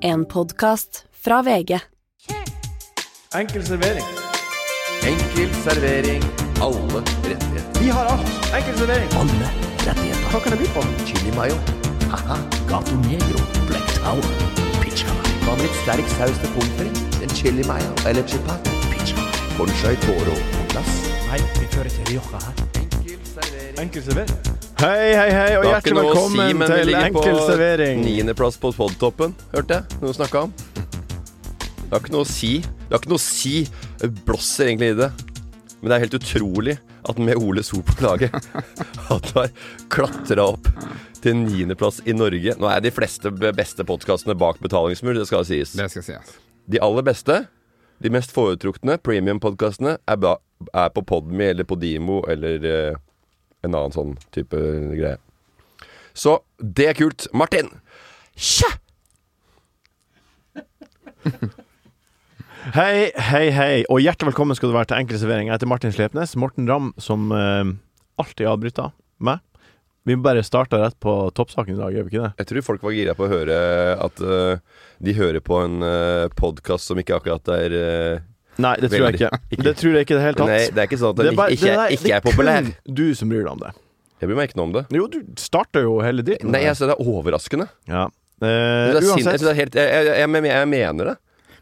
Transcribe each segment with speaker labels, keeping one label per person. Speaker 1: En podkast fra VG.
Speaker 2: Enkel servering.
Speaker 3: Enkel servering. Alle rettigheter.
Speaker 2: Vi har alt. Enkel servering.
Speaker 4: Alle rettigheter.
Speaker 2: Hva kan det by på?
Speaker 3: Chili mayo.
Speaker 4: Haha. Gato Negro. Black Tower. Pizza.
Speaker 3: Hva med litt sterk saus til pommes frites? En chili mayo eller chipat?
Speaker 4: Pizza.
Speaker 3: Conchai toro på glass.
Speaker 4: Nei, vi kjører til Rioja her.
Speaker 3: Enkel servering.
Speaker 2: Enkel servering. Hei, hei, hei, og hjertelig velkommen til Enkel servering.
Speaker 3: Niendeplass på podtoppen, hørte jeg noe snakka om. Det har ikke noe å si. Det har ikke noe å si. Det blåser egentlig i det. Men det er helt utrolig at med Ole So på laget at han har klatra opp til niendeplass i Norge. Nå er de fleste beste podkastene bak betalingsmur, det skal sies.
Speaker 5: Det skal sies.
Speaker 3: De aller beste, de mest foretrukne premium-podkastene er, ba- er på Podme eller på Dimo eller eh, en annen sånn type greie. Så det er kult. Martin! Tja!
Speaker 2: Hei, hei, hei, og hjertelig velkommen skal du være til Enkel servering. Jeg heter Martin Slepnes. Morten Ramm, som eh, alltid avbryter meg. Vi bare starta rett på toppsaken i dag, gjør vi ikke det?
Speaker 3: Jeg tror folk var gira på å høre at eh, de hører på en uh, podkast som ikke akkurat er eh,
Speaker 2: Nei, det tror jeg
Speaker 3: Veldig.
Speaker 2: ikke.
Speaker 3: Ikke.
Speaker 2: Det tror jeg ikke i det hele tatt.
Speaker 3: Nei, det er ikke sånn at
Speaker 2: Det
Speaker 3: den
Speaker 2: er bare-
Speaker 3: ikke, ikke,
Speaker 2: det
Speaker 3: er-
Speaker 2: der-
Speaker 3: ikke er
Speaker 2: det
Speaker 3: populær.
Speaker 2: kun du som bryr deg om det.
Speaker 3: Jeg bryr meg ikke noe om det.
Speaker 2: Jo, du starter jo hele dritten.
Speaker 3: Nei, jeg synes det er overraskende.
Speaker 2: ja.
Speaker 3: Jeg
Speaker 2: eh,
Speaker 3: synes det er sinne- jeg,
Speaker 2: Uansett.
Speaker 3: synes det er helt, jeg, jeg, jeg, jeg, jeg mener det.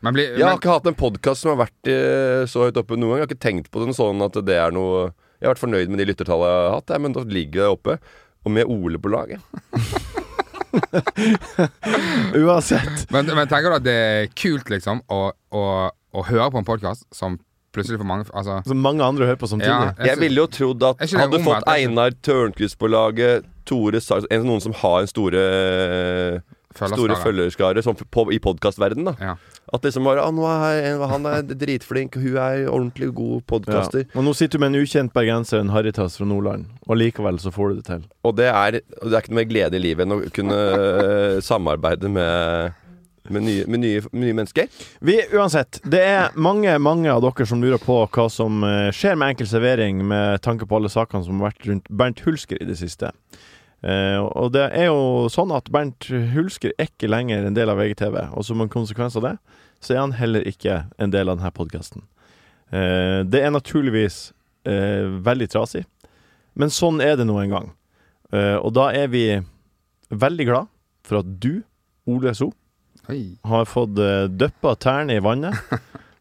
Speaker 5: Men blir,
Speaker 3: Jeg har
Speaker 5: men,
Speaker 3: ikke hatt en podkast som har vært eh, så høyt oppe noen gang. Jeg har ikke tenkt på den sånn at det er noe Jeg har vært fornøyd med de lyttertallene jeg har hatt, jeg, men da ligger det oppe. Og med Ole på laget.
Speaker 2: Uansett.
Speaker 5: men, men tenker du at det er kult, liksom, å, å, å høre på en podkast som plutselig får mange Altså,
Speaker 2: Som mange andre hører på samtidig.
Speaker 5: ja,
Speaker 3: Sånn Jeg ville jo trodd at
Speaker 5: Jeg synes det er
Speaker 3: hadde
Speaker 5: omvendt,
Speaker 3: fått
Speaker 5: jeg synes-
Speaker 3: Einar Tørnquist på laget, Tore Sars en, Noen som har en store, store følgerskare sånn på, i podkastverdenen, da.
Speaker 5: Ja.
Speaker 3: At liksom bare «Å, nå er en- Han er dritflink, hun er ordentlig god podkaster.
Speaker 2: Og nå sitter du med en ukjent bergenser, en harrytass fra Nordland, og likevel så får du det til.
Speaker 3: Og det er, og det er ikke noe mer glede i livet enn å kunne eh, samarbeide med, med, nye, med, nye, med nye mennesker.
Speaker 2: Vi, uansett, det er mange mange av dere som lurer på hva som eh, skjer med Enkel servering, med tanke på alle sakene som har vært rundt Bernt Hulsker i det siste. Eh, og det er jo sånn at Bernt Hulsker er ikke lenger en del av VGTV, og som en konsekvens av det, så er han heller ikke en del av denne podkasten. Eh, det er naturligvis eh, veldig trasig, men sånn er det nå en gang. Eh, og da er vi veldig glad for at du, Ole So,
Speaker 5: Oi.
Speaker 2: har fått uh, døppa tærne i vannet.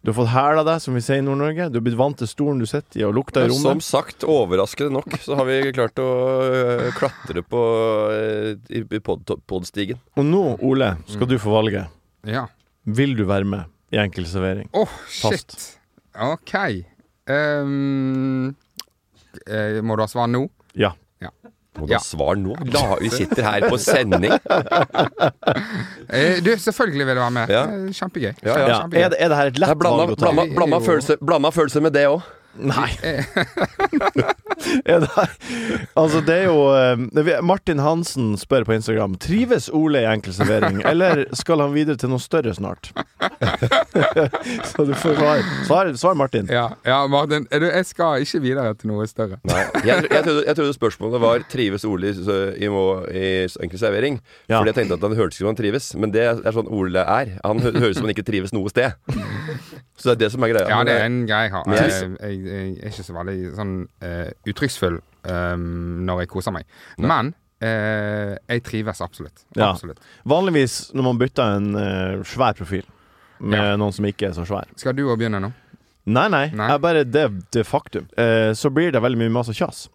Speaker 2: Du har fått hæla deg, som vi sier i Nord-Norge. Du har blitt vant til stolen du sitter i, og lukta i
Speaker 3: Ja, Som
Speaker 2: rommet.
Speaker 3: sagt, overraskende nok, så har vi klart å øh, klatre på øh, i i pod podstigen.
Speaker 2: Og nå, Ole,
Speaker 3: Mm.
Speaker 2: skal du få valget.
Speaker 5: Ja.
Speaker 2: Vil du være med i Enkel servering?
Speaker 5: Åh, shit.
Speaker 2: Fast.
Speaker 5: OK. Ehm, eh, må du ha svar nå?
Speaker 2: Ja.
Speaker 3: Må
Speaker 5: Ja.
Speaker 3: da svar nå? La, vi sitter her på sending.
Speaker 5: Eh, du, selvfølgelig vil du være med.
Speaker 3: Ja.
Speaker 5: Eh, Kjempegøy.
Speaker 3: Ja,
Speaker 2: ja.
Speaker 5: Kjempegøy.
Speaker 2: Er, det, er det her et
Speaker 3: Det er
Speaker 2: lett valg
Speaker 3: blanda,
Speaker 2: å ta?
Speaker 3: blanda, blanda, følelse, blanda følelser med det òg.
Speaker 2: Nei.
Speaker 3: Eh.
Speaker 2: er det her? Altså, det er jo eh, det vi- Martin Hansen spør på Instagram Trives Ole i Enkel servering, eller skal han videre til noe større snart? Så du får svar. Svar, svar Martin.
Speaker 5: Ja, ja, Martin. er Du, jeg skal ikke videre til noe større.
Speaker 3: Jeg, jeg, trodde- jeg trodde spørsmålet var 'trives Ole i, s- i, må- i s- enkel servering'?
Speaker 2: Ja.
Speaker 3: Fordi jeg tenkte at han hørtes ikke som han trives, men det er sånn Ole er. Han hø- høres som han ikke trives noe sted. Så det er det som er greia.
Speaker 5: Ja,
Speaker 3: Men,
Speaker 5: det er
Speaker 3: eh,
Speaker 5: en greie jeg har.
Speaker 3: Men
Speaker 5: Jeg,
Speaker 3: jeg-
Speaker 5: jeg, jeg er ikke så veldig sånn eh, uttrykksfull ehm, når jeg koser meg. Men eh, jeg trives absolutt.
Speaker 2: Ja.
Speaker 5: absolutt.
Speaker 2: Vanligvis når man bytter en eh, svær profil med
Speaker 5: Ja.
Speaker 2: noen som ikke er så svær.
Speaker 5: Skal du òg begynne nå?
Speaker 2: Nei, nei.
Speaker 5: Nei.
Speaker 2: Jeg bare det, det er faktum. Eh, så blir det veldig mye masse kjas.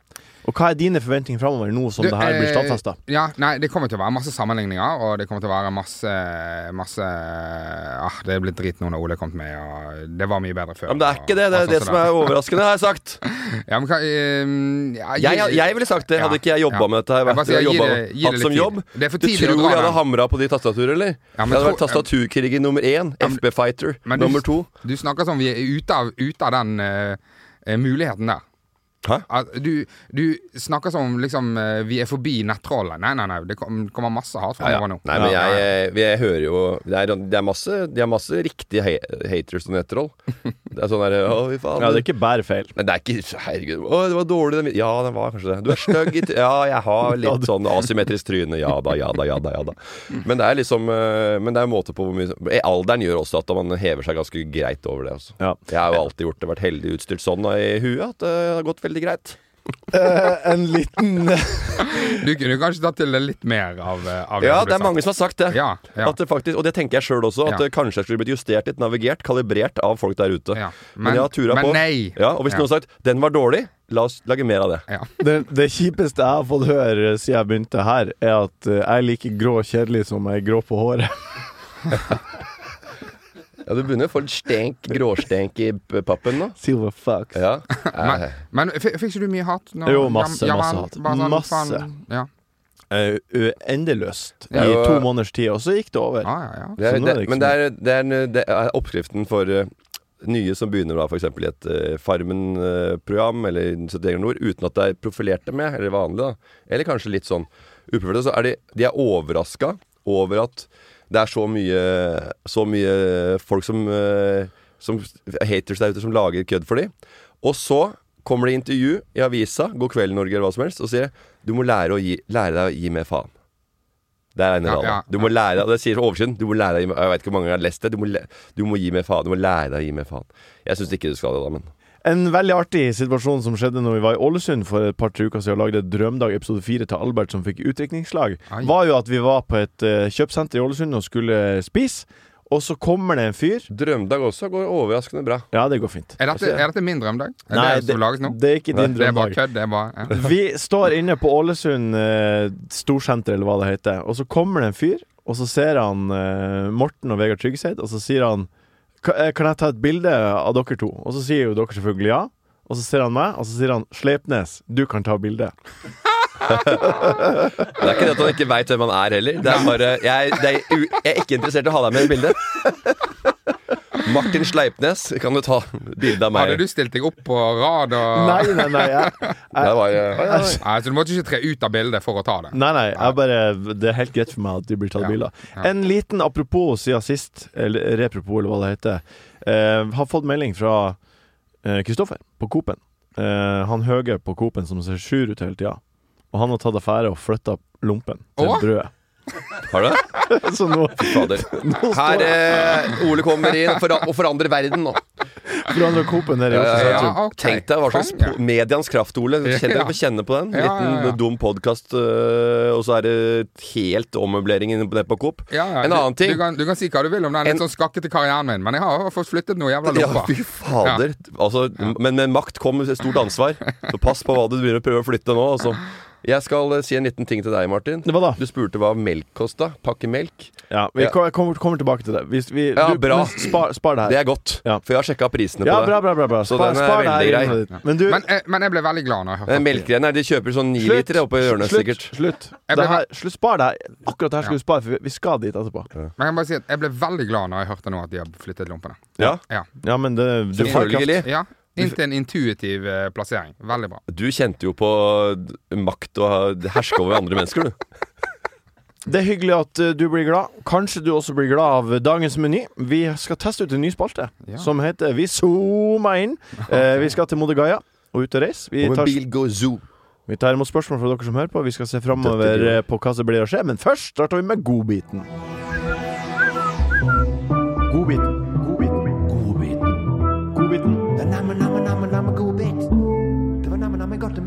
Speaker 2: Og hva er dine forventninger framover nå som
Speaker 5: Du,
Speaker 2: det her blir
Speaker 5: eh,
Speaker 2: stadfesta?
Speaker 5: Ja, nei, det kommer til å være masse sammenligninger, og det kommer til å være masse, masse ah, Det er blitt drit nå når Ole kom med, og det var mye bedre før. sånn
Speaker 3: ja, men det er ikke det. Det er det som er overraskende, har jeg sagt.
Speaker 5: ja, men, hva, ehm, ja, gi-
Speaker 3: Jeg, jeg ville sagt det, hadde ikke jeg jobba
Speaker 5: Ja.
Speaker 3: med dette her.
Speaker 5: Jeg bare
Speaker 3: Vært, jeg
Speaker 5: sier, gi
Speaker 3: jobbet,
Speaker 5: det- gi det
Speaker 3: hatt
Speaker 5: litt
Speaker 3: som
Speaker 5: tid.
Speaker 3: jobb.
Speaker 5: Det er for
Speaker 3: Du
Speaker 5: tidlig å
Speaker 3: tror
Speaker 5: dra
Speaker 3: jeg hadde
Speaker 5: den.
Speaker 3: hamra på de tastaturer, eller?
Speaker 5: Ja, men
Speaker 3: jeg hadde vært
Speaker 5: tro-
Speaker 3: tastaturkriger nummer én. FB Fighter
Speaker 5: men du-
Speaker 3: nummer to.
Speaker 5: Du snakker som vi er ute av, ute av den eh, eh, muligheten der.
Speaker 3: Hæ?
Speaker 5: At Du, du snakker som om liksom, eh, vi er forbi nettrollen. Nei, nei, nei. Det kom- kommer masse hat fra
Speaker 3: Ja, ja.
Speaker 5: over nå.
Speaker 3: Nei, men
Speaker 5: Ja,
Speaker 3: jeg,
Speaker 5: ja.
Speaker 3: jeg, hører jo Det er, det er, masse, det er masse riktige ha- haters og nettroll. Det er sånn der Å, fy faen.
Speaker 2: Ja, det er ikke bare feil.
Speaker 3: Nei, det er ikke Herregud. Å, det var dårlig. den vi- Ja, den var kanskje det. Du er stygg. i t- Ja, jeg har
Speaker 2: Ja,
Speaker 3: litt
Speaker 2: du-
Speaker 3: sånn asymmetrisk tryne. Ja da, ja da, ja da. ja da Men det er liksom eh, Men det er en måte på hvor mye eh, Alderen gjør også at man hever seg ganske greit over det. Altså.
Speaker 2: Ja.
Speaker 3: Jeg har jo alltid gjort det, vært heldig utstyrt sånn i huet at det har gått veldig greit.
Speaker 2: en liten
Speaker 5: Du kunne kanskje tatt til deg litt mer av, eh, av
Speaker 3: Ja,
Speaker 5: som ble
Speaker 3: det er mange som har
Speaker 5: sagt.
Speaker 3: sagt det.
Speaker 5: Ja, ja.
Speaker 3: At det faktisk, og det tenker jeg sjøl også, at
Speaker 5: Ja.
Speaker 3: det kanskje jeg skulle blitt justert litt, navigert, kalibrert av folk der ute.
Speaker 5: Ja,
Speaker 3: Men,
Speaker 5: men-
Speaker 3: jeg har tura
Speaker 5: men
Speaker 3: på.
Speaker 5: nei.
Speaker 3: Ja, og hvis
Speaker 5: Ja.
Speaker 3: noen har sagt 'den var dårlig', la oss lage mer av det.
Speaker 5: Ja.
Speaker 2: det, det kjipeste jeg har fått høre eh, siden jeg begynte her, er at eh, jeg er like grå og kjedelig som jeg er grå på håret.
Speaker 3: Ja, Du begynner å få litt stenk, gråstenk i p- pappen nå.
Speaker 2: Silver fucks.
Speaker 3: Ja.
Speaker 5: Men, men f- fikk ikke du mye hat? nå?
Speaker 2: Jo, masse, masse
Speaker 5: vel,
Speaker 2: hat.
Speaker 5: bare sånn,
Speaker 2: Masse.
Speaker 5: faen, Ja.
Speaker 2: Eh, ø- endeløst
Speaker 3: Ja,
Speaker 2: i
Speaker 3: og-
Speaker 2: to måneders tid, og så gikk det over.
Speaker 5: Ja, ja, ja.
Speaker 3: Det er,
Speaker 2: Så nå er det liksom
Speaker 3: det,
Speaker 2: ikke
Speaker 3: men
Speaker 2: så
Speaker 3: det er, det, er, en- det er oppskriften for eh, nye som begynner da f.eks. i et eh, Farmen-program eh, eller 71 grader nord, uten at det er profilert dem med, eller vanlig, da. Eller kanskje litt sånn uprofilert. Så er de, de er overraska over at det er så mye, så mye folk som, eh, som haters der ute som lager kødd for dem. Og så kommer det intervju i avisa, God kveld Norge eller hva som helst, og sier du må lære, å gi, lære deg å gi mer faen. Det er ene
Speaker 5: Ja,
Speaker 3: raden.
Speaker 5: ja,
Speaker 3: Du må lære deg, det sier oversyn, du må lære deg, å gi- jeg vet ikke hvor mange har lest det, du må, læ- du må gi mer faen, du må lære deg å gi mer faen. Jeg syns ikke du skal det da, men
Speaker 2: En veldig artig situasjon som skjedde når vi var i Ålesund for et par-tre uker siden og lagde Drømdag episode fire til Albert som fikk utdrikningslag,
Speaker 5: Ai.
Speaker 2: var jo at vi var på et eh, kjøpesenter i Ålesund og skulle spise, og så kommer det en fyr
Speaker 3: Drømdag også går overraskende bra.
Speaker 2: Ja, det går fint.
Speaker 5: Er, dette, er dette min drømdag? Er det som lages nå?
Speaker 2: det er ikke din
Speaker 5: Det er bare
Speaker 2: drømdag.
Speaker 5: kødd. Det er bare ja.
Speaker 2: Vi står inne på Ålesund eh, storsenter, eller hva det heter, og så kommer det en fyr, og så ser han eh, Morten og Vegard Tryggeseid, og så sier han "Ka- eh, Kan jeg ta et bilde av dere to? Og så sier jo dere selvfølgelig ja. Og så ser han meg, og så sier han Sleipnes, du kan ta bilde.
Speaker 3: Det er ikke det at han ikke veit hvem han er heller. Det er bare, jeg, det er, u- jeg er ikke interessert i å ha deg med i bildet. Martin Sleipnes, kan du ta bilde av meg?
Speaker 5: Hadde du stilt deg opp på rad og
Speaker 2: Nei, nei, nei. Jeg,
Speaker 3: Det var, eh,
Speaker 5: Nei, så du måtte ikke tre ut av bildet for å ta det?
Speaker 2: nei, nei jeg bare, det er helt greit for meg at de blir tatt
Speaker 5: Ja.
Speaker 2: bilder.
Speaker 5: Ja.
Speaker 2: En liten apropos siden sist, eller repropos, eller hva det heter, eh, har fått melding fra eh, Kristoffer på Coop-en. Eh, han høye på Coop-en som ser sur ut hele tida. Og han har tatt affære og flytta lompen til
Speaker 5: Åh?
Speaker 2: brødet.
Speaker 3: har du det?
Speaker 2: Så nå
Speaker 3: Fader. Her eh, Ole kommer inn for, å- og forandrer verden nå.
Speaker 2: forandrer Coop-en der i Oslo
Speaker 5: ja,
Speaker 2: sentrum.
Speaker 5: ja. ok.
Speaker 3: Tenk deg hva slags
Speaker 5: Konge.
Speaker 3: po- medians kraft, Ole. Kjenn deg
Speaker 5: Ja.
Speaker 3: på kjenne på den.
Speaker 5: Ja, ja,
Speaker 3: Liten
Speaker 5: ja.
Speaker 3: dum podkast, og så er det helt ommøblering inne på- nede på Coop.
Speaker 5: Ja, ja.
Speaker 3: En annen
Speaker 5: du,
Speaker 3: ting
Speaker 5: Du kan, du kan si hva du vil om den litt
Speaker 3: En-
Speaker 5: sånn skakkete karrieren min, men jeg har fått flyttet noe jævla
Speaker 3: Ja,
Speaker 5: lopper.
Speaker 3: fy fader. Altså, men med makt kommer et stort ansvar. Så pass på hva du begynner å prøve å flytte nå. Altså. Jeg skal eh, si en liten ting til deg, Martin.
Speaker 2: Hva da?
Speaker 3: Du spurte hva melk kosta. Pakke melk.
Speaker 2: Ja, vi
Speaker 3: Ja.
Speaker 2: kom- kommer, kommer tilbake til det. Vi, vi,
Speaker 3: Ja, bra.
Speaker 2: men Spar, spar det
Speaker 3: Det
Speaker 2: her.
Speaker 3: er godt,
Speaker 2: Ja.
Speaker 3: for jeg har sjekka prisene
Speaker 2: Ja,
Speaker 3: på
Speaker 2: bra,
Speaker 3: det.
Speaker 2: bra, bra. bra.
Speaker 3: Så
Speaker 2: Spar,
Speaker 3: den er
Speaker 2: spar det her.
Speaker 3: veldig
Speaker 2: i
Speaker 3: grei.
Speaker 2: innholdet ditt. Men du,
Speaker 5: Men, eh, men jeg ble veldig glad når jeg hørte
Speaker 3: Den
Speaker 5: at-
Speaker 3: Eh, Melkgreiene her, de kjøper sånn ni liter oppe i hjørnet, sikkert.
Speaker 2: Slutt. slutt. Det
Speaker 5: Jeg ble
Speaker 2: her, slutt. Spar det her. Akkurat det her skal du spare, for vi- vi skal dit etterpå.
Speaker 5: Men jeg kan bare si at jeg ble veldig glad når jeg hørte nå at de har flyttet lompene.
Speaker 3: Ja,
Speaker 5: Ja.
Speaker 2: Ja, men det du får kraft.
Speaker 3: Selvfølgelig.
Speaker 5: ja. Inntil en intuitiv eh, plassering. Veldig bra.
Speaker 3: Du kjente jo på makt og herske over andre mennesker, du.
Speaker 2: Det er hyggelig at eh, du blir glad. Kanskje du også blir glad av dagens meny. Vi skal teste ut en ny spalte
Speaker 5: Ja.
Speaker 2: som heter Vi zooma inn. Eh, vi skal til Modigaya og ut og reise. Vi tar,
Speaker 3: går zoo.
Speaker 2: vi tar imot spørsmål fra dere som hører på. Vi skal se framover eh, på hva som blir å skje, men først starter vi med godbiten. Godbiten. Godbiten.
Speaker 4: Godbit.
Speaker 2: Godbiten.
Speaker 4: Det er namme, namme, namme, namme godbit. Det var namme, namme godt med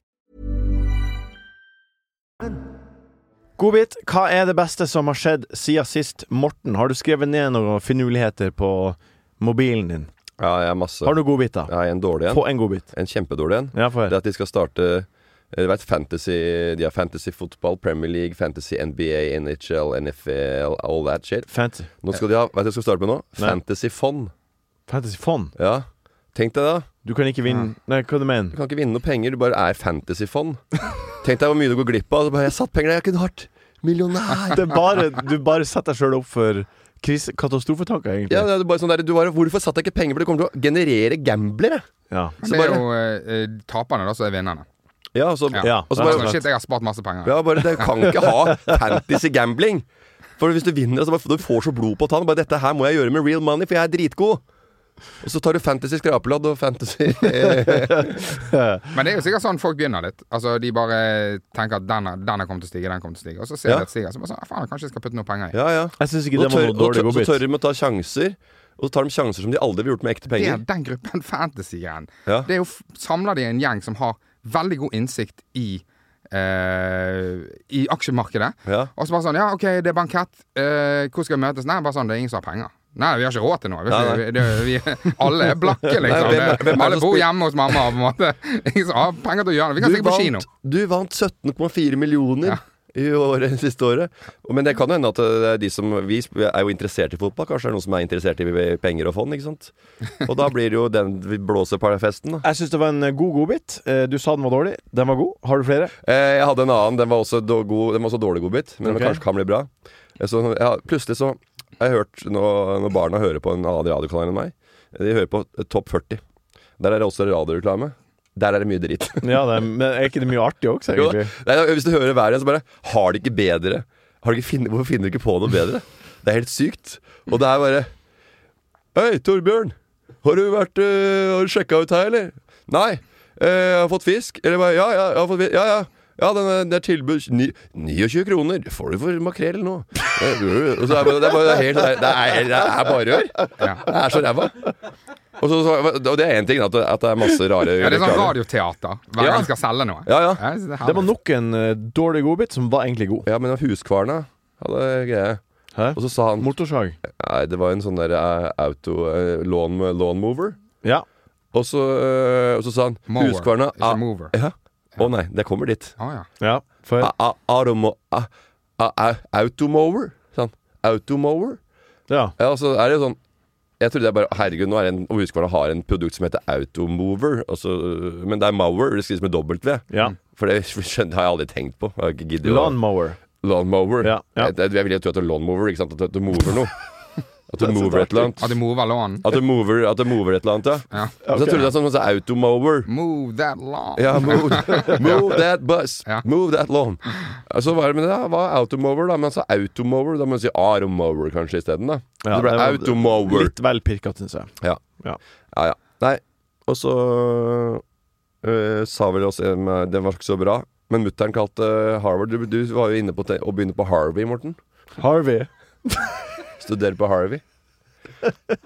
Speaker 2: Godbit, hva er det beste som har skjedd siden sist? Morten, har du skrevet ned noen finurligheter på mobilen din?
Speaker 3: Ja, jeg har masse.
Speaker 2: Har du godbiter?
Speaker 3: Jeg har en dårlig en.
Speaker 2: Få en godbit.
Speaker 3: En kjempedårlig en.
Speaker 2: Ja, få
Speaker 3: Det
Speaker 2: høre.
Speaker 3: at de skal starte eh, du vet, fantasy, De har fantasy fotball, Premier League, fantasy NBA, NHL, NFL, all that shit.
Speaker 2: Fantasy.
Speaker 3: Nå skal de ha, Vet du hva jeg skal starte med nå?
Speaker 2: Nei.
Speaker 3: Fantasy fond.
Speaker 2: Fantasy fond.
Speaker 3: Ja. Tenk deg da.
Speaker 2: Du kan ikke vinne Nei, hva du
Speaker 3: Du
Speaker 2: mener
Speaker 3: kan ikke vinne noe penger, du bare er fantasy fond. Tenk deg hvor mye du går glipp av. Så bare, jeg satt penger der, jeg kunne vært millionær.
Speaker 2: det? Er bare, du bare setter deg sjøl opp for krise, katastrofetanker, egentlig.
Speaker 3: Ja, det er bare sånn der, du bare, Hvorfor satte jeg ikke penger? For det kommer til å generere gamblere.
Speaker 2: Ja.
Speaker 5: Men det er jo eh, taperne da som er vinnerne.
Speaker 3: Ja, og så,
Speaker 5: Ja.
Speaker 2: Ja,
Speaker 3: Og så
Speaker 5: Bare,
Speaker 3: bare,
Speaker 5: sånn, shit, jeg har spart masse penger.
Speaker 3: ja, bare Det kan ikke ha fantasy gambling. For hvis du vinner, så bare, du får så blod på tann. Bare 'Dette her må jeg gjøre med real money, for jeg er dritgod'. Og så tar du fantasy skrapelodd og fantasy
Speaker 5: Men det er jo sikkert sånn folk begynner litt. Altså, De bare tenker at den, er- den er kommet til å stige, den kommer til å stige. Og så ser
Speaker 3: Ja.
Speaker 5: de at stiger, så bare sånn, «Ah, faen, kanskje jeg skal putte noe penger i.
Speaker 3: Ja, ja.
Speaker 2: Jeg syns ikke
Speaker 3: Og
Speaker 2: det var
Speaker 3: tør,
Speaker 2: noe
Speaker 3: og
Speaker 2: dårlig
Speaker 3: tør, så
Speaker 2: godbit.
Speaker 3: tør de å ta sjanser, og så tar de sjanser som de aldri ville gjort med ekte
Speaker 5: Det
Speaker 3: penger.
Speaker 5: er den gruppen fantasy-greien.
Speaker 3: Ja.
Speaker 5: Det er jo f- samler de en gjeng som har veldig god innsikt i eh, I aksjemarkedet.
Speaker 3: Ja.
Speaker 5: Og så bare sånn Ja, OK, det er bankett. Eh, hvor skal vi møtes? Nei, bare sånn, det er ingen som har penger. Nei, vi har ikke råd til noe. Vi,
Speaker 3: Nei, nei.
Speaker 5: det, vi, alle er blakke,
Speaker 3: Nei,
Speaker 5: liksom.
Speaker 3: hvem er- hvem er
Speaker 5: alle
Speaker 3: det som
Speaker 5: bor
Speaker 3: spil-
Speaker 5: hjemme hos mamma, på en måte. Ingen som har penger til å gjøre det. Vi kan
Speaker 3: Du
Speaker 5: stikke på
Speaker 3: vant-
Speaker 5: kino.
Speaker 3: Du vant 17,4 millioner
Speaker 5: Ja.
Speaker 3: i året, siste året. Men det kan jo hende at eh, det er de som Vi er jo interessert i fotball. Kanskje det er noen som er interessert i penger og fond, ikke sant. Og da blir det jo den vi blåser på festen, da.
Speaker 2: Jeg syns det var en god godbit. Eh, Du sa den var dårlig. Den var god. Har du flere?
Speaker 3: Eh, Jeg hadde en annen. Den var også, då- god, den var også dårlig godbit, men
Speaker 2: Ok.
Speaker 3: den kanskje kan bli bra. Eh, Så jeg har- plutselig så har jeg hørt nå- når barna hører på en annen radiokanal enn meg, de hører på eh, Topp 40. Der er det også radioreklame. Der er det mye dritt.
Speaker 2: Ja, det, er- men er ikke det mye artig også,
Speaker 3: Jo, da.
Speaker 2: egentlig?
Speaker 3: Nei, da, hvis du hører hver en, så bare Har de ikke bedre? Har de ikke finne, hvorfor finner de ikke på noe bedre? Det er helt sykt. Og det er bare Hei, Torbjørn. Har du vært øh, Har du sjekka ut her, eller? Nei. eh, jeg har fått fisk. Eller bare Ja, ja. Jeg har fått fisk. Ja, ja. Ja, den er, det er tilbud ni, 29 kroner. Det får du for makrell nå. Eh, øh, Og så er det, bare- det er bare helt Det er, det er, det er bare rør.
Speaker 5: Ja.
Speaker 3: Det er så ræva. Og, så, så, og det er én ting, at det, at det er masse rare
Speaker 5: Ja, det er sånn
Speaker 3: reklamer.
Speaker 5: radioteater
Speaker 3: Ja.
Speaker 5: hver gang de skal selge noe.
Speaker 3: Ja, ja.
Speaker 5: så det, er
Speaker 2: Det var
Speaker 5: herlig.
Speaker 2: nok en eh, dårlig godbit som var egentlig god.
Speaker 3: Ja, men huskvarna hadde greie.
Speaker 2: Hæ?
Speaker 3: Og så sa han
Speaker 2: Motorsag.
Speaker 3: Nei, det var en sånn der eh, auto eh, lawn, lawn mover.
Speaker 2: Ja.
Speaker 3: Og så, eh, og så sa han
Speaker 5: Mower,
Speaker 3: Huskvarna
Speaker 5: ikke
Speaker 3: ah,
Speaker 5: mover.
Speaker 3: Ja. Å nei, det kommer dit.
Speaker 5: Å, ja.
Speaker 2: ja. For,
Speaker 3: A- a- automo- a- a- au- Automower, sa han. Automower.
Speaker 2: ja.
Speaker 3: Ja, så er det jo sånn Jeg trodde jeg bare Herregud, nå er det en, om Husqvarna har en produkt som heter Automover. og så- men det er Mower. Det skrives med dobbelt V.
Speaker 2: ja.
Speaker 3: For det skjønner, har jeg aldri tenkt på. Jeg har ikke giddet å-
Speaker 2: Lawnmower.
Speaker 3: Lawnmower.
Speaker 2: Ja, ja.
Speaker 3: Jeg, jeg, jeg vil jo tro at det er lawnmower, ikke sant? At du- du mover noe. At du mover et eller annet.
Speaker 5: At de mover lånen.
Speaker 3: At du mover, at du mover et eller annet, ja.
Speaker 5: Ja.
Speaker 3: Og Så trodde jeg sånn sånn automower.
Speaker 5: Move that lawn.
Speaker 3: Ja, move, move that bus.
Speaker 5: Ja.
Speaker 3: Move that lawn. Så var det med det, da? Var automower, da. Men så automower, da må du si aromower kanskje isteden, da.
Speaker 2: Ja,
Speaker 3: det ble
Speaker 2: det var-
Speaker 3: automower.
Speaker 2: Litt vel pirkete, syns jeg.
Speaker 3: Ja.
Speaker 2: Ja.
Speaker 3: ja, ja. Nei, og så øh, sa vel oss en øh, Den var ikke så bra. Men mutter'n kalte Harvard du, du var jo inne på te- å begynne på Harvey, Morten.
Speaker 2: Harvey.
Speaker 3: Studere på Harvey.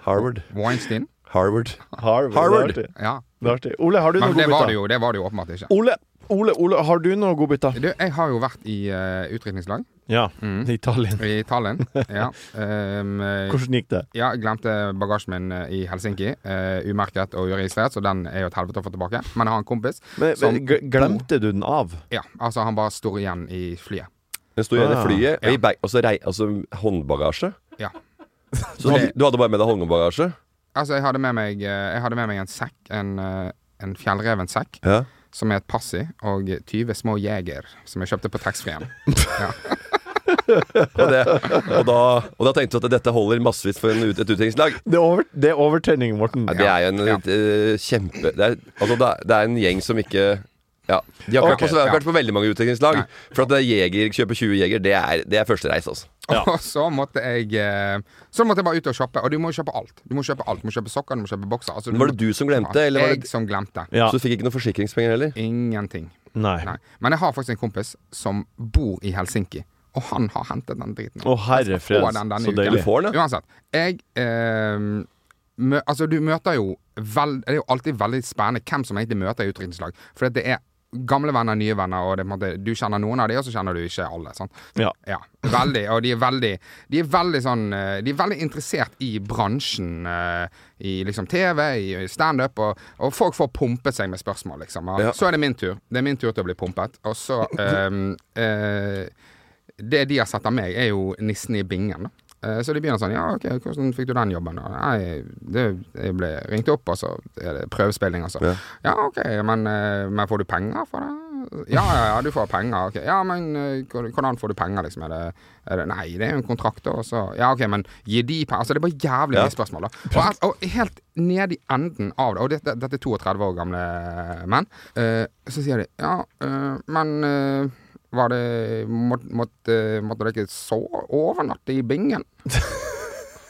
Speaker 3: Harvard.
Speaker 5: Weinstein.
Speaker 3: Harvard.
Speaker 2: Harvey.
Speaker 3: Harvard.
Speaker 2: Det er artig.
Speaker 5: Ja.
Speaker 2: Det er artig. Ole, har du noen
Speaker 5: Men det var det
Speaker 2: godbiter?
Speaker 5: jo, det var det jo åpenbart ikke.
Speaker 2: Ole, Ole, Ole, har du noen godbiter?
Speaker 5: Du, jeg har jo vært i uh, utrykningslag
Speaker 2: Ja.
Speaker 5: Mm.
Speaker 2: I Tallinn.
Speaker 5: i Tallinn. Ja. Um, eh,
Speaker 2: Hvordan gikk det?
Speaker 5: ja, jeg glemte bagasjen min eh, i Helsinki. eh, umerket og uregistrert, så den er jo et helvete å få tilbake. Men jeg har en kompis
Speaker 2: Men,
Speaker 5: som
Speaker 2: men, g- glemte du den av?
Speaker 5: Ja, altså han bare står igjen i flyet.
Speaker 3: Den sto igjen i
Speaker 2: Ah.
Speaker 3: flyet, og
Speaker 5: Ja.
Speaker 3: i bag, og så rei, altså håndbagasje.
Speaker 5: Ja.
Speaker 3: Så du hadde, du hadde bare med deg håndbagasje?
Speaker 5: Altså, jeg hadde med meg, eh, jeg hadde med meg en sekk, en, eh, en fjellrevensekk,
Speaker 3: Ja.
Speaker 5: som er et pass i, og 20 små jeger, som jeg kjøpte på taxfree-en.
Speaker 3: Og, det, og, da, og da tenkte du at dette holder massevis for en, ut- et utdrikningslag?
Speaker 2: Det er, over, det er overtenning, Morten.
Speaker 3: Ja, det er jo en
Speaker 5: Ja.
Speaker 3: eh, kjempe det er, altså, det, er, det er en gjeng som ikke Ja. De har ikke
Speaker 2: Ok,
Speaker 3: vært på,
Speaker 5: ja.
Speaker 3: vært på veldig mange utviklingslag. For at det er jeger, kjøpe 20 jeger, det er, det er første reis, altså.
Speaker 5: Og så måtte jeg eh, Så måtte jeg bare ut og shoppe. Og du må jo kjøpe alt. Du må kjøpe alt, du må kjøpe sokker, du må kjøpe bokser. Altså,
Speaker 3: Men var det du som glemte, eller var
Speaker 5: Jeg
Speaker 3: det
Speaker 5: som glemte.
Speaker 2: Ja.
Speaker 3: Så du fikk ikke noen forsikringspenger heller?
Speaker 5: Ingenting.
Speaker 2: Nei.
Speaker 5: Nei. Men jeg har faktisk en kompis som bor i Helsinki, og han har hentet den driten.
Speaker 2: Å, herre
Speaker 5: Jeg skal få
Speaker 2: freds,
Speaker 5: den denne
Speaker 2: så
Speaker 5: uken.
Speaker 2: deilig.
Speaker 3: Du får den, ja.
Speaker 5: Uansett. Jeg eh, mø, Altså, du møter jo vel, Det er jo alltid veldig spennende hvem som egentlig møter i utdrikningslag. For det er gamle venner, nye venner, og det, er på en måte, du kjenner noen av de, og så kjenner du ikke alle. Sant?
Speaker 2: Ja.
Speaker 5: veldig, og de er veldig De er veldig sånn eh, De er veldig interessert i bransjen. eh, I liksom TV, i standup, og, og folk får pumpet seg med spørsmål, liksom. Og
Speaker 3: Ja.
Speaker 5: Så er det min tur. Det er min tur til å bli pumpet. Og så eh, eh, det de har sett av meg, er jo nissen i bingen. da. Eh, Så de begynner sånn Ja, ok, hvordan fikk du den jobben? Og Nei, det, jeg ble ringt opp, og så er det prøvespilling, altså. Ja, ok, men, eh, men får du penger for det? Ja, ja, ja, du får penger. ok Ja, men eh, hvor- hvordan får du penger, liksom? Er det, er det Nei, det er jo en kontrakt, da, og så Ja, ok, men gir de penger? Altså, det er bare jævlig mye spørsmål, da. Og, og helt ned i enden av det, og dette, dette er 32 år gamle menn, eh, så sier de Ja, eh, men eh, var det må, måtte, måtte dere så overnatte i bingen?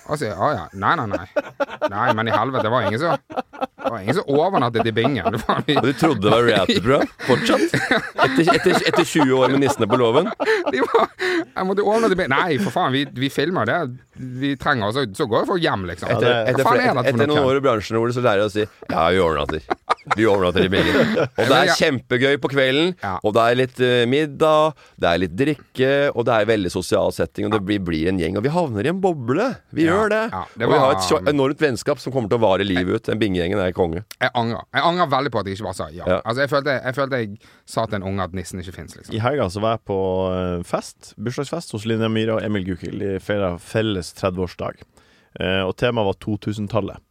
Speaker 5: Og så sier jeg, ja ja. Nei, nei, nei. Nei, men i helvete, det var ingen som Det var ingen som overnattet i bingen. Det var
Speaker 3: Og
Speaker 5: de,
Speaker 3: du trodde det var reality-program? Fortsatt? Etter, etter, etter 20 år med nissene på låven?
Speaker 5: de var, jeg måtte overnatte i bingen. Nei, for faen, vi, vi filmer det. Vi trenger oss, så går folk hjem, liksom.
Speaker 3: Etter, etter,
Speaker 5: Hva faen
Speaker 3: flere-
Speaker 5: er dette for
Speaker 3: etter
Speaker 5: noe?
Speaker 3: noen år i bransjen hvor det så lærer jeg å si Ja, vi overnatter. Vi overnatter i bilen. Og det
Speaker 5: Men
Speaker 3: er
Speaker 5: jeg-
Speaker 3: kjempegøy på kvelden,
Speaker 5: Ja.
Speaker 3: og det er litt eh, middag, det er litt drikke, og det er veldig sosial setting, og det blir, blir en gjeng. Og vi havner i en boble. Vi
Speaker 5: Ja,
Speaker 3: gjør det.
Speaker 5: ja, det
Speaker 3: Og vi
Speaker 5: var-
Speaker 3: har et så enormt vennskap som kommer til å vare livet ut. Den bingegjengen er konge.
Speaker 5: Jeg angrer. Jeg angrer veldig på at jeg ikke bare sa ja.
Speaker 3: Ja.
Speaker 5: Altså, jeg følte, jeg følte jeg sa til en unge at nissen ikke fins, liksom.
Speaker 2: I helga så var jeg på eh, fest, bursdagsfest hos Linnea Myhre og Emil Gukild. De feira felles 30-årsdag. Eh, og temaet var 2000-tallet.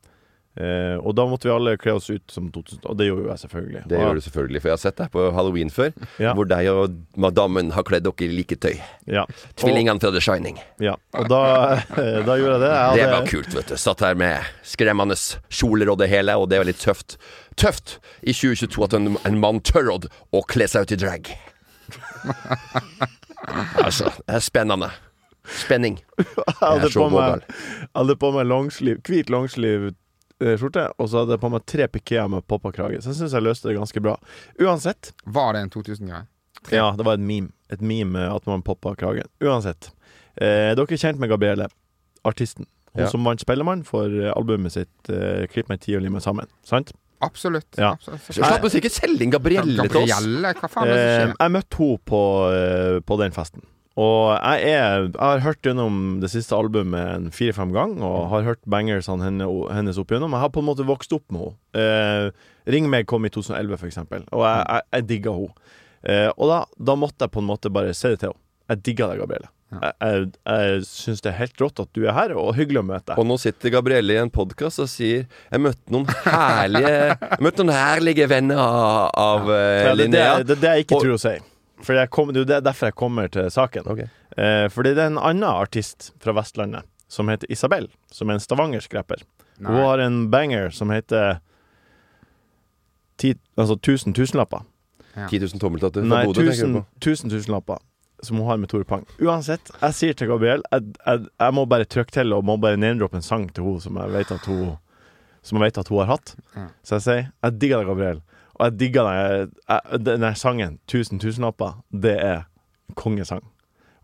Speaker 2: Eh, og da måtte vi alle kle oss ut som 2000 Og det gjorde jo jeg, selvfølgelig.
Speaker 3: Det gjør du selvfølgelig, for jeg har sett deg på halloween før,
Speaker 2: Ja.
Speaker 3: hvor deg og madammen har kledd dere i like tøy.
Speaker 2: Ja. Og,
Speaker 3: Tvillingene fra The Shining.
Speaker 2: ja. og da, da gjorde jeg det. Jeg
Speaker 3: Det
Speaker 2: hadde-
Speaker 3: var kult, vet du. Satt her med skremmende kjoler og det hele, og det var litt tøft. Tøft i 2022 at en, en mann tør å å kle seg ut i drag. altså, det er spennende. Spenning.
Speaker 2: Jeg hadde
Speaker 3: Jeg er så
Speaker 2: på meg,
Speaker 3: vågal.
Speaker 2: jeg hadde på meg longsleeve, hvit longsleeve eh, skjorte, og så hadde jeg på meg tre pikéer med poppa-krage. Så jeg syns jeg løste det ganske bra. Uansett.
Speaker 5: Var det en 2000-greie?
Speaker 2: Ja, det var et meme. Et meme eh, at man poppa kragen. Uansett. Eh, dere er kjent med Gabrielle, artisten. Hun
Speaker 3: Ja.
Speaker 2: som vant Spellemann for eh, albumet sitt eh, 'Klipp meg ti og lim meg sammen'. Sant?
Speaker 5: Absolutt.
Speaker 2: Ja.
Speaker 5: absolutt.
Speaker 3: Slapp musikken, selg inn Gabrielle til oss.
Speaker 5: Gabrielle, hva faen er det som
Speaker 2: Eh,
Speaker 5: skjer?
Speaker 2: jeg møtte henne på, eh, på den festen. Og jeg, er, jeg har hørt gjennom det siste albumet en fire-fem ganger, og har hørt bangersene henne, hennes opp igjennom. Jeg har på en måte vokst opp med henne. Eh, Ring meg kom i 2011, for eksempel, og jeg, jeg, jeg digga henne. Eh, og da, da måtte jeg på en måte bare si det til henne. Jeg digger deg, Gabrielle. Jeg, jeg, jeg syns det er helt rått at du er her, og hyggelig å møte
Speaker 3: Og
Speaker 2: deg.
Speaker 3: nå sitter Gabrielle i en podkast og sier Jeg møtte noen herlige Jeg møtte noen herlige venner av, av eh,
Speaker 2: Ja, det, det,
Speaker 3: Linnea.
Speaker 2: er- det er det jeg ikke
Speaker 3: Og-
Speaker 2: tror å si. For jeg kom, det er jo det- derfor jeg kommer til saken.
Speaker 3: Ok.
Speaker 2: Eh, fordi det er en annen artist fra Vestlandet som heter Isabel, som er en stavangersk rapper. Hun har en banger som heter ti, altså 1000 tusenlapper.
Speaker 3: 10 000 tommeltatter fra
Speaker 2: Nei,
Speaker 3: Bodø, tenker
Speaker 2: 1000
Speaker 3: du på.
Speaker 2: 1000 tusenlapper. Som hun har med Tore Pang. Uansett, jeg sier til Gabriel Jeg, jeg, jeg må bare trykke til og må bare name-droppe en sang til henne som jeg vet at hun Som jeg vet at hun har hatt. Så jeg sier jeg digger deg, Gabriel. Og jeg digger deg. Jeg, den der sangen, 1000 tusenlapper, det er kongesang.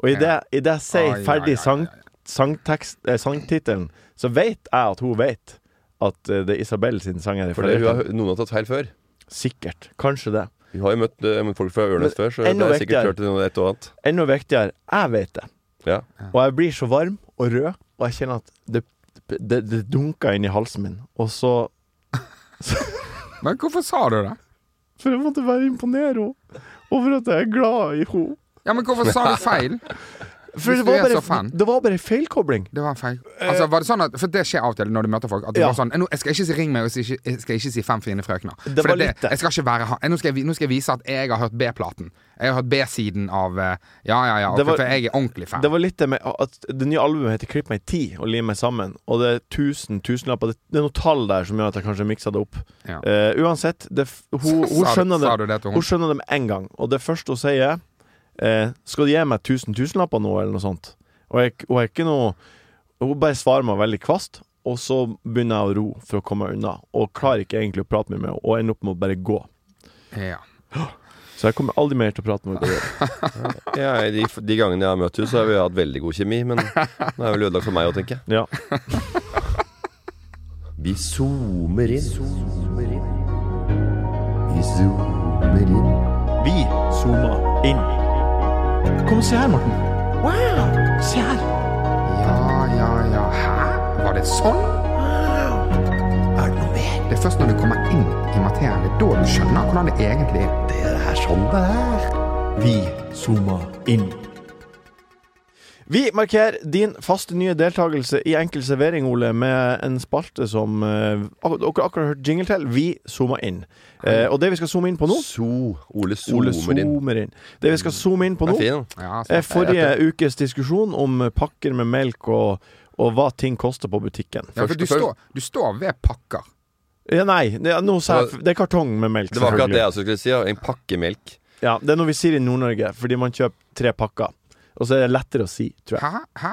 Speaker 2: Og idet
Speaker 5: Ja.
Speaker 2: i det jeg sier
Speaker 5: Ai, ai, ai,
Speaker 2: ferdig
Speaker 5: ai,
Speaker 2: sang,
Speaker 5: ai.
Speaker 2: sangtekst, eh, sangtittelen, så vet jeg at hun vet at eh, det er Isabel sin sang jeg
Speaker 3: For det, hun
Speaker 2: refererer
Speaker 3: har, noen har tatt feil før.
Speaker 2: til. Sikkert. Kanskje det.
Speaker 3: Vi har jo møtt eh, folk fra
Speaker 2: Men
Speaker 3: Ørnes før, så det
Speaker 2: enda
Speaker 3: er sikkert
Speaker 2: viktigere.
Speaker 3: hørt noe et og annet.
Speaker 2: Enda viktigere, jeg vet det.
Speaker 3: Ja.
Speaker 2: Og jeg blir så varm og rød, og jeg kjenner at det, det, det dunker inn i halsen min. Og så
Speaker 5: Men hvorfor sa du det?
Speaker 2: For jeg måtte bare imponere henne. Og for at jeg er glad i henne.
Speaker 5: Ja, men hvorfor sa du feil?
Speaker 2: For
Speaker 5: Hvis
Speaker 2: det
Speaker 5: du
Speaker 2: var
Speaker 5: er så
Speaker 2: bare,
Speaker 5: fan.
Speaker 2: det var bare feilkobling.
Speaker 5: Det var feil. Altså, var det sånn at, for det skjer av og til når du møter folk. At du
Speaker 2: Ja.
Speaker 5: var sånn, nå, Jeg skal ikke si 'ring meg', og si, ikke- jeg skal ikke si 'Fem fine frøkner'.
Speaker 2: Det
Speaker 5: For
Speaker 2: var litt det.
Speaker 5: Jeg skal ikke være han. Nå, skal jeg, vi- nå skal jeg vise at jeg har hørt B-platen. Jeg har hørt B-siden av eh, Ja, ja, ja.
Speaker 2: Det var-
Speaker 5: for jeg er ordentlig fan.
Speaker 2: Det var litt det med at det nye albumet heter 'Klipp meg i ti' og 'Lim meg sammen', og det er tusen tusenlapper. Det, det er noen tall der som gjør at jeg kanskje miksa det opp.
Speaker 5: Ja.
Speaker 2: Eh, uansett, det, f- hun, hun,
Speaker 5: Sa du-
Speaker 2: skjønner
Speaker 5: Sa
Speaker 2: det,
Speaker 5: du det til
Speaker 2: hun
Speaker 5: henne?
Speaker 2: skjønner det med en gang, og det første hun sier, eh, 'Skal du gi meg tusen tusenlapper nå', eller noe sånt. Og jeg, hun er ikke noe Hun bare svarer meg veldig kvast, og så begynner jeg å ro for å komme meg unna, og klarer ikke egentlig å prate mye med henne, og ender opp med å bare gå.
Speaker 5: Ja.
Speaker 2: Så jeg kommer aldri mer til å prate med henne.
Speaker 3: Ja, de, de gangene jeg har møtt henne, så har vi hatt veldig god kjemi, men det er vel ødelagt for meg òg, tenker jeg.
Speaker 2: Ja.
Speaker 3: Vi zoomer inn. Vi zoomer inn.
Speaker 2: Vi zooma inn. Kom og se her, Morten. Wow! Se her.
Speaker 5: ja, ja, ja. Hæ? Var det sånn?
Speaker 3: Er det noe mer?
Speaker 5: Det er først når du kommer inn i materien, det er da du skjønner hvordan det egentlig er.
Speaker 3: Det er sånn det er.
Speaker 2: Vi zooma inn. Vi markerer din faste nye deltakelse i Enkel servering, Ole, med en spalte som eh, ak dere akkurat har hørt jingle til. Vi zoomer inn. Eh, og det vi skal zoome inn på nå
Speaker 3: So, Ole
Speaker 2: Ole
Speaker 3: zoomer inn.
Speaker 2: zoomer inn. Det vi skal zoome inn på nå,
Speaker 3: Den er fin. da.
Speaker 5: Ja, altså.
Speaker 2: er forrige ukes diskusjon om pakker med melk og, og hva ting koster på butikken.
Speaker 5: ja, for
Speaker 3: først
Speaker 5: du
Speaker 3: og først-
Speaker 5: står, du står ved pakker.
Speaker 2: Ja, nei, det, nå sa jeg, det er kartong med melk.
Speaker 3: Det var akkurat
Speaker 2: selvfølgelig.
Speaker 3: det jeg også skulle si. ja. En pakke melk.
Speaker 2: Ja, det er noe vi sier i Nord-Norge, fordi man kjøper tre pakker. Og så er det lettere å si, tror jeg.
Speaker 5: Hæ? Hæ?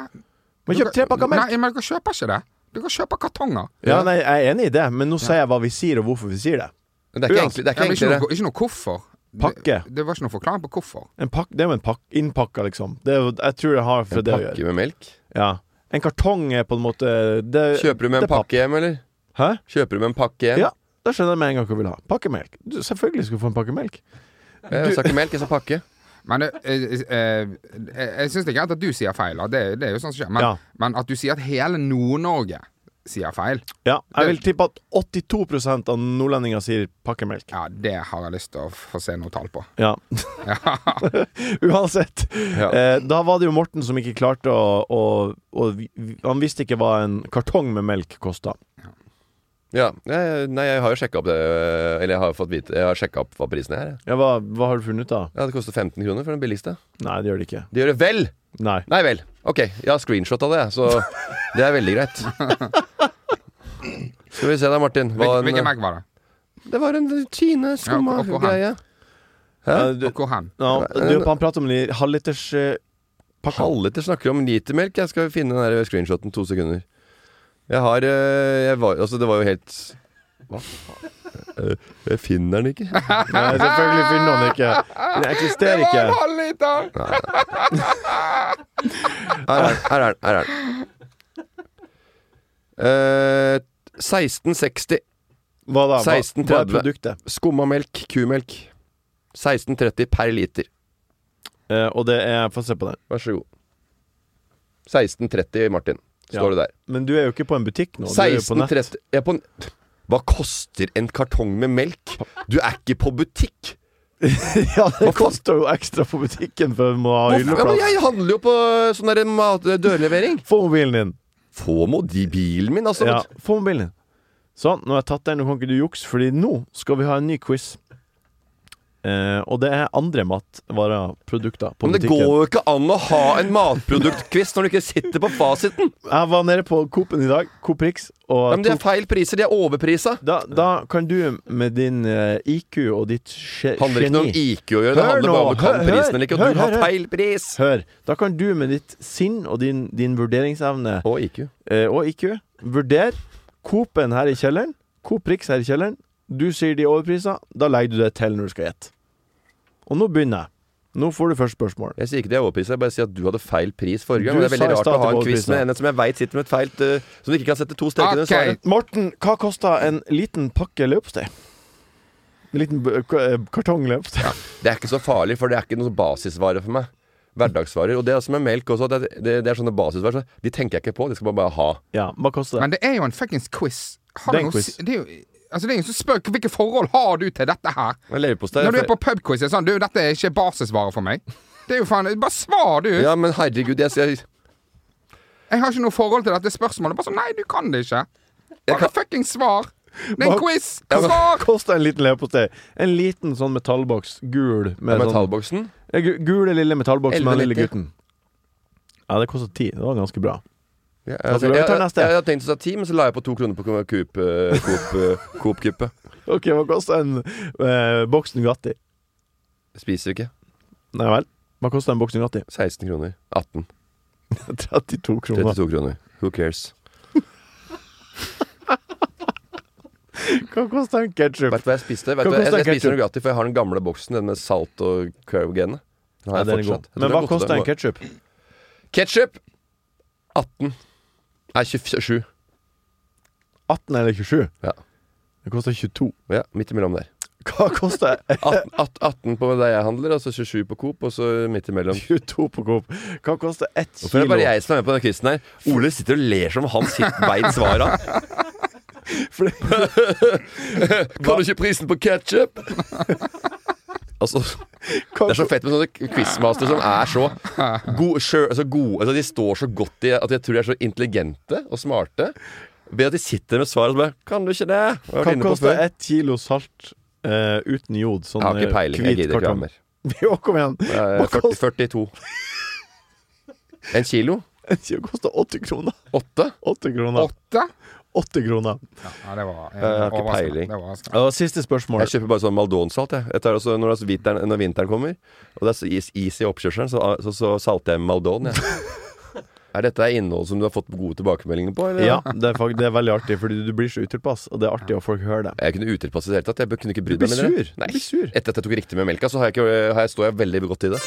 Speaker 2: Man kjøper tre pakker melk!
Speaker 5: Nei, men dere kjøper ikke det. Dere kjøper kartonger.
Speaker 2: Ja, nei, jeg er enig i det, men nå sier jeg hva vi sier, og hvorfor vi sier det.
Speaker 3: Men Det er ikke,
Speaker 2: Uansett,
Speaker 3: enkle, det er
Speaker 5: Ja, men
Speaker 3: ikke
Speaker 5: ikke,
Speaker 3: enklere.
Speaker 5: noe, ikke noe hvorfor.
Speaker 2: Pakke.
Speaker 5: Det, det var ikke noe forklaring på hvorfor.
Speaker 2: En pakk, det er jo en pakk, innpakka, liksom. Det er, jo- jeg tror det har for
Speaker 3: En
Speaker 2: det å
Speaker 3: pakke
Speaker 2: gjøre.
Speaker 3: med melk?
Speaker 2: Ja. En kartong er på en måte det,
Speaker 3: Kjøper du med
Speaker 2: det
Speaker 3: en
Speaker 2: er papp.
Speaker 3: pakke hjem, eller?
Speaker 2: Hæ?
Speaker 3: Kjøper du med en pakke hjem?
Speaker 2: Ja. Da skjønner jeg med en gang hva du vil ha. Pakkemelk. Du, selvfølgelig skal du få en pakke melk.
Speaker 3: Jeg sa ikke melk, jeg sa pakke.
Speaker 5: Men det, eh, eh, eh, jeg syns det er greit at du sier feil, da. det, det er jo sånn som skjer. Men,
Speaker 2: Ja.
Speaker 5: men at du sier at hele Nord-Norge sier feil,
Speaker 2: Ja, jeg vil tippe at 82 av nordlendinger sier pakkemelk.
Speaker 5: ja, det har jeg lyst til å få se noe tall på.
Speaker 2: Ja. Uansett.
Speaker 3: Ja.
Speaker 2: Eh, da var det jo Morten som ikke klarte å, å, å vi- Han visste ikke hva en kartong med melk kosta.
Speaker 3: Ja, jeg, Nei, jeg har jo sjekka opp det øh, Eller jeg har fått vite Jeg har sjekka opp hva prisen er. jeg.
Speaker 2: Ja, hva, hva har du funnet ut, da?
Speaker 3: Ja, Det koster 15 kroner for den billigste.
Speaker 2: Nei, det gjør det ikke.
Speaker 3: Det gjør det vel!
Speaker 2: Nei.
Speaker 3: Nei vel. Ok, jeg har screenshot av det, jeg, så det er veldig greit. Skal vi se da, Martin. Hva
Speaker 5: Hvil- Hvilken
Speaker 3: en,
Speaker 5: merk var det?
Speaker 3: det var en Tine skumma
Speaker 5: Ja, og- og han.
Speaker 3: greie.
Speaker 2: Eh, du,
Speaker 5: Og hvor hen?
Speaker 2: ja, du, han prater om de halvliters eh, pakka.
Speaker 3: Halvliter snakker om litermelk. Jeg skal finne den der screenshoten. To sekunder. Jeg har øh, jeg var, Altså, det var jo helt Hva faen? Øh, Jeg finner den ikke.
Speaker 2: Nei, selvfølgelig finner han ikke. Den eksisterer
Speaker 5: Det var en
Speaker 2: ikke.
Speaker 5: halv liter!
Speaker 3: Her er den. Her er den. Her er den. Eh, 1660.
Speaker 2: Hva da? Hva, hva er
Speaker 3: 16,30.
Speaker 2: produktet?
Speaker 3: Skumma melk. Kumelk. 1630 per liter.
Speaker 2: Eh, og det er Få se på den.
Speaker 3: Vær så god. 1630, Martin. Står
Speaker 2: Ja.
Speaker 3: det der.
Speaker 2: Men du er jo ikke på en butikk nå. Du er jo på nett.
Speaker 3: 1630 Jeg er på n- Hva koster en kartong med melk? Du er ikke på butikk!
Speaker 2: Ja, det koster jo ekstra på butikken for å ha
Speaker 3: Hva f- Ja, men
Speaker 2: hylleplass.
Speaker 3: jeg handler jo på sånn der mat- dørlevering.
Speaker 2: Få mobilen din.
Speaker 3: Få må de bilen min, altså.
Speaker 2: Ja, få mobilen din. Sånn, nå har jeg tatt den, nå kan ikke du jukse, fordi nå skal vi ha en ny quiz. Eh, og det er andre matvareprodukter på
Speaker 3: Men det går
Speaker 2: butikken.
Speaker 3: jo ikke an å ha en matproduktquiz når du ikke sitter på fasiten!
Speaker 2: Jeg var nede på Coop-en i dag, Coop Rix, og
Speaker 3: Ja, men det er
Speaker 2: tok-
Speaker 3: feil priser. De er overprisa.
Speaker 2: da, da kan du med din eh, IQ og ditt ge-
Speaker 3: handler ikke noe om
Speaker 2: geni
Speaker 3: IQ å gjøre. Det
Speaker 2: Hør
Speaker 3: handler
Speaker 2: nå,
Speaker 3: bare om du kan
Speaker 2: hør, hør,
Speaker 3: prisen eller ikke. Og
Speaker 2: hør,
Speaker 3: du har
Speaker 2: hør, hør.
Speaker 3: feil pris!
Speaker 2: Hør, da kan du med ditt sinn og din, din vurderingsevne
Speaker 3: Og IQ.
Speaker 2: eh, og IQ vurdere Coop-en her i kjelleren, Coop Rix her i kjelleren. Du sier de overpriser, da legger du det til når du skal gjette. Og nå begynner jeg. Nå får du først spørsmål.
Speaker 3: Jeg sier ikke de er overprisa, jeg bare sier at du hadde feil pris forrige gang.
Speaker 2: Du
Speaker 3: og Det er veldig
Speaker 2: sa i
Speaker 3: rart
Speaker 2: stad
Speaker 3: å ha
Speaker 2: at det
Speaker 3: en
Speaker 2: var
Speaker 3: quiz med
Speaker 2: overprisa.
Speaker 3: en som jeg veit sitter med et feil uh, Som du ikke kan sette to streker under
Speaker 5: Ok.
Speaker 3: svaret.
Speaker 2: Morten, hva kosta en liten pakke løpsteg? En liten b- k- eh, kartong løpsteg?
Speaker 3: Det er ikke så farlig, for det er ikke noen basisvare for meg. Hverdagsvarer. Og det er som med melk også, at det, det, det er sånne basisvarer. Så de tenker jeg ikke på, de skal bare, bare ha.
Speaker 2: Ja, hva koster det?
Speaker 5: Men det er jo en fuckings quiz. Har
Speaker 2: Det er en
Speaker 5: du noe
Speaker 2: quiz.
Speaker 5: si- Det er jo altså det er ingen som spør hvilke forhold har du til dette her.
Speaker 3: Men Leverpostei
Speaker 5: Når du er
Speaker 3: er
Speaker 5: på pubquiz, er det sånn Du, dette er ikke basisvare for meg. Det er jo faen Bare svar, du!
Speaker 3: Ja, men herregud, jeg, jeg,
Speaker 5: Jeg har ikke noe forhold til dette spørsmålet. Bare sånn, nei, du kan det ikke. Bare
Speaker 3: kan-
Speaker 5: fucking svar! Det er
Speaker 2: Hva-
Speaker 5: en quiz!
Speaker 3: Ja, men-
Speaker 5: Svar!
Speaker 2: Kosta en liten leverpostei. En liten sånn metallboks, gul. Med sånn,
Speaker 3: Metallboksen?
Speaker 2: Ja, gu- gule, lille metallboks med den lille
Speaker 3: 11,90.
Speaker 2: gutten. Ja, det kosta ti. Det var ganske bra.
Speaker 3: Ja,
Speaker 2: Altså,
Speaker 3: jeg,
Speaker 2: vi
Speaker 3: jeg,
Speaker 2: tar
Speaker 3: jeg,
Speaker 2: neste.
Speaker 3: jeg hadde tenkt å ta ti, men så la jeg på to kroner på Coop- Coop eh, Coop, eh, Coop-kuppet.
Speaker 2: Ok, hva kosta en eh, boks Nugatti?
Speaker 3: Spiser ikke.
Speaker 2: Nei vel. Hva kosta en boks Nugatti?
Speaker 3: 16 kroner. 18.
Speaker 2: 32 kroner.
Speaker 3: 32 kroner. Who cares?
Speaker 2: Hva kosta en ketsjup?
Speaker 3: Vet du hva jeg spiste? Vet
Speaker 2: Hva
Speaker 3: du hva? Jeg,
Speaker 2: koster en
Speaker 3: jeg spiser
Speaker 2: ketchup?
Speaker 3: den gratis, for jeg har den gamle boksen, den med salt og curve-genet. Den har
Speaker 2: Ja,
Speaker 3: jeg
Speaker 2: den er god.
Speaker 3: fortsatt.
Speaker 2: Men hva kosta en ketsjup?
Speaker 3: Ketsjup! 18. Nei, 27.
Speaker 2: 18 eller 27?
Speaker 3: Ja.
Speaker 2: Det kosta 22.
Speaker 3: Ja, midt imellom der.
Speaker 2: Hva kosta
Speaker 3: 18, 18, 18 på der jeg handler, og så 27 på Coop, og så midt imellom.
Speaker 2: 22 på Coop? Hva kosta ett
Speaker 3: Hvorfor er det
Speaker 2: kilo?
Speaker 3: bare jeg som er med på den quizen her? Ole sitter og ler som han sitt- veit svara. Kan du ikke prisen på ketsjup? Altså, det er så fett med sånne quizmaster som er så gode, sjø- altså gode altså De står så godt i at jeg tror de er så intelligente og smarte. Ved at de sitter med svaret og bare Kan du ikke det? Jeg har vært
Speaker 2: Hva
Speaker 3: inne på
Speaker 2: kosta
Speaker 3: før.
Speaker 2: ett kilo salt eh, uten jod? Sånn
Speaker 3: Jeg har ikke
Speaker 2: eh,
Speaker 3: peiling. Jeg
Speaker 2: hvit
Speaker 3: gidder ikke ha
Speaker 2: kartong.
Speaker 3: mer.
Speaker 2: Jo, kom igjen.
Speaker 3: Eh,
Speaker 2: Hva
Speaker 3: 40,
Speaker 2: kosta
Speaker 3: 42. En kilo?
Speaker 2: Det koster 80 kroner.
Speaker 3: Åtte?
Speaker 2: 80 kroner.
Speaker 5: Åtte?
Speaker 2: 80 kroner.
Speaker 5: Ja, det var eh,
Speaker 3: har ikke
Speaker 5: overraskende.
Speaker 3: peiling.
Speaker 5: Det var overraskende.
Speaker 2: Og siste spørsmål.
Speaker 3: Jeg kjøper bare sånn Maldonsalt. Jeg. Jeg tar også, når, det er vinteren, når vinteren kommer, og det er så is, is i oppkjørselen, så, så, så salter jeg med Maldon. Jeg. Er dette innhold som du har fått gode tilbakemeldinger på? Eller?
Speaker 2: Ja, det er, fakt- det er veldig artig, fordi du blir så utilpass, og det er artig at folk hører det.
Speaker 3: Jeg kunne utilpasset i det hele tatt. Jeg bør- kunne ikke brydd
Speaker 2: Du blir
Speaker 3: meg med det.
Speaker 2: sur. Du blir sur.
Speaker 3: Etter at jeg tok riktig med melka, så har jeg ikke, har jeg, står jeg veldig godt i det.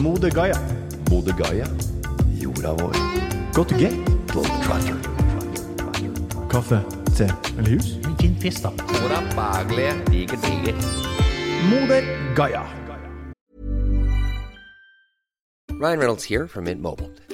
Speaker 2: Mode Gaia.
Speaker 3: Bodø Gaia, jorda vår.
Speaker 2: Go to gate. Kaffe, te eller jus?
Speaker 4: Fin fisk, da.
Speaker 2: Mode Gaia.
Speaker 6: Ryan Reynolds here from Mint Mobile.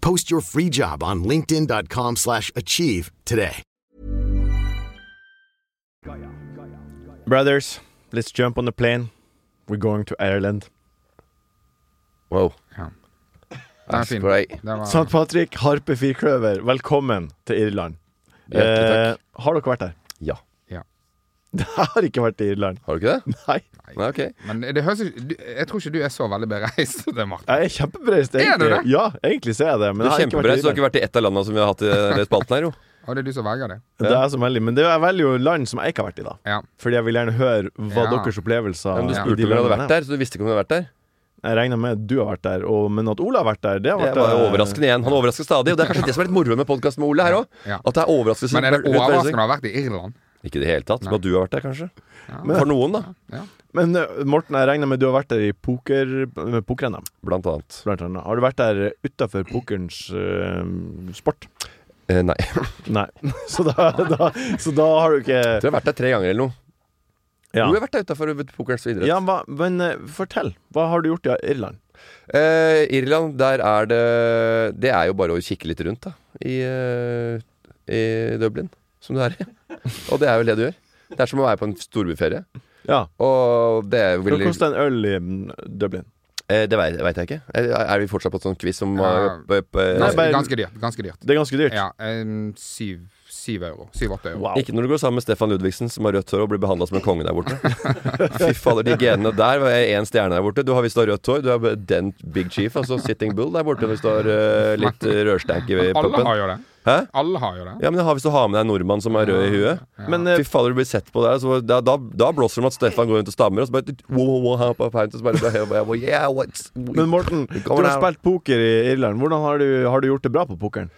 Speaker 7: Post your free job on linkedin.com/achieve slash achieve today.
Speaker 2: Brothers, let's jump on the plane. We're going to Ireland.
Speaker 3: Wow.
Speaker 5: Ja. Den er fin.
Speaker 3: Spray.
Speaker 5: Den var-
Speaker 2: St. Patrick Harpe Firkløver, velkommen til Irland.
Speaker 3: Hjertelig takk.
Speaker 2: Eh, har dere vært der?
Speaker 3: Ja.
Speaker 5: ja.
Speaker 2: Jeg har ikke vært i Irland.
Speaker 3: Har du ikke det?
Speaker 2: Nei.
Speaker 3: Nei, ok.
Speaker 5: Men det høres ikke du- Jeg tror ikke du er så veldig bereist, det, Martin.
Speaker 2: Jeg er kjempebereist,
Speaker 5: Er du
Speaker 2: egentlig.
Speaker 5: det?
Speaker 2: Ja, egentlig ser jeg det. Men
Speaker 3: Du
Speaker 2: jeg har ikke vært
Speaker 3: er
Speaker 2: i
Speaker 3: kjempebrei, så du har
Speaker 2: Irland.
Speaker 3: ikke vært i ett av landene som vi har hatt i den spalten her, jo.
Speaker 5: Og det er du som velger det.
Speaker 2: Det er jeg som velger, men det er veldig jo land som jeg ikke har vært i, da.
Speaker 5: Ja.
Speaker 2: Fordi jeg vil gjerne høre hva
Speaker 5: Ja.
Speaker 2: deres opplevelser
Speaker 3: Ja, men du
Speaker 2: i
Speaker 3: spurte
Speaker 2: de
Speaker 3: om du hadde
Speaker 2: landene
Speaker 3: vært
Speaker 2: er.
Speaker 3: der, så du visste ikke om du hadde vært der.
Speaker 2: Jeg regner med at du har vært der, og, men at Ola har vært der, det har
Speaker 3: Det
Speaker 2: vært
Speaker 3: var jo
Speaker 2: eh,
Speaker 3: overraskende igjen. Han overrasker stadig. Og det er kanskje det som er litt moro med podkasten med Ole her òg.
Speaker 5: Ja.
Speaker 3: At det er overraskelse.
Speaker 5: Men er det
Speaker 3: rundt hver
Speaker 5: overraskende
Speaker 3: sesong.
Speaker 5: å ha vært i Irland?
Speaker 3: Ikke i det hele tatt. Men at du har vært der, kanskje. For noen, da.
Speaker 5: Ja.
Speaker 2: Men eh, Morten, jeg regner med at du har vært der i poker, med poker-NM,
Speaker 3: Blant annet.
Speaker 2: blant annet. Har du vært der utafor pokerens eh, sport?
Speaker 3: Eh, nei. Jeg
Speaker 2: Nei. Så da, da, så da har du ikke
Speaker 3: tror jeg har vært der tre ganger eller noe.
Speaker 2: ja.
Speaker 3: Jo, jeg har vært der utafor pokerens idrett.
Speaker 2: Ja, hva, men eh, fortell. Hva har du gjort i Irland?
Speaker 3: Eh, Irland, der er det Det er jo bare å kikke litt rundt, da. I, eh, i Dublin, som du er i. Og det er vel det du gjør. Det er som å være på en storbyferie.
Speaker 2: Ja.
Speaker 3: Og det er
Speaker 2: Hva
Speaker 3: vel
Speaker 2: kosta en øl i mm, Dublin?
Speaker 3: eh, Det veit jeg ikke. Er, er vi fortsatt på en sånn quiz som
Speaker 5: Ja.
Speaker 3: eh, p- p-
Speaker 2: Nei,
Speaker 5: Ganske,
Speaker 2: bare-
Speaker 5: ganske dyrt. Ganske dyrt.
Speaker 2: Det er ganske dyrt.
Speaker 5: Ja, um, syv, 7 euro. 7-8 euro.
Speaker 3: Ikke når du går sammen med Stefan Ludvigsen, som har rødt hår og blir behandla som en konge der borte. Fy fader, de genene der var jeg én stjerne der borte. Du har hvis du har rødt hår, du er den big chief, altså sitting bull der borte hvis du har eh, litt rørstank i
Speaker 5: Men
Speaker 3: puppen.
Speaker 5: Alle har jo det.
Speaker 3: Hæ?
Speaker 5: Alle har jo det.
Speaker 3: Ja, men det har- Hvis du har med deg en nordmann som er rød i huet
Speaker 2: Men eh,
Speaker 3: Fy fader, du blir sett på der. Så da, da, da blåser det om at Stefan går rundt og stammer, og så bare wow, wow, wow, hop, hop, hop, og så bare, bare, bare, bare yeah, what's,
Speaker 2: Men Morten, du
Speaker 3: kommer
Speaker 2: har
Speaker 3: her.
Speaker 2: spilt poker i Irland. Hvordan har du, har du gjort det bra på pokeren?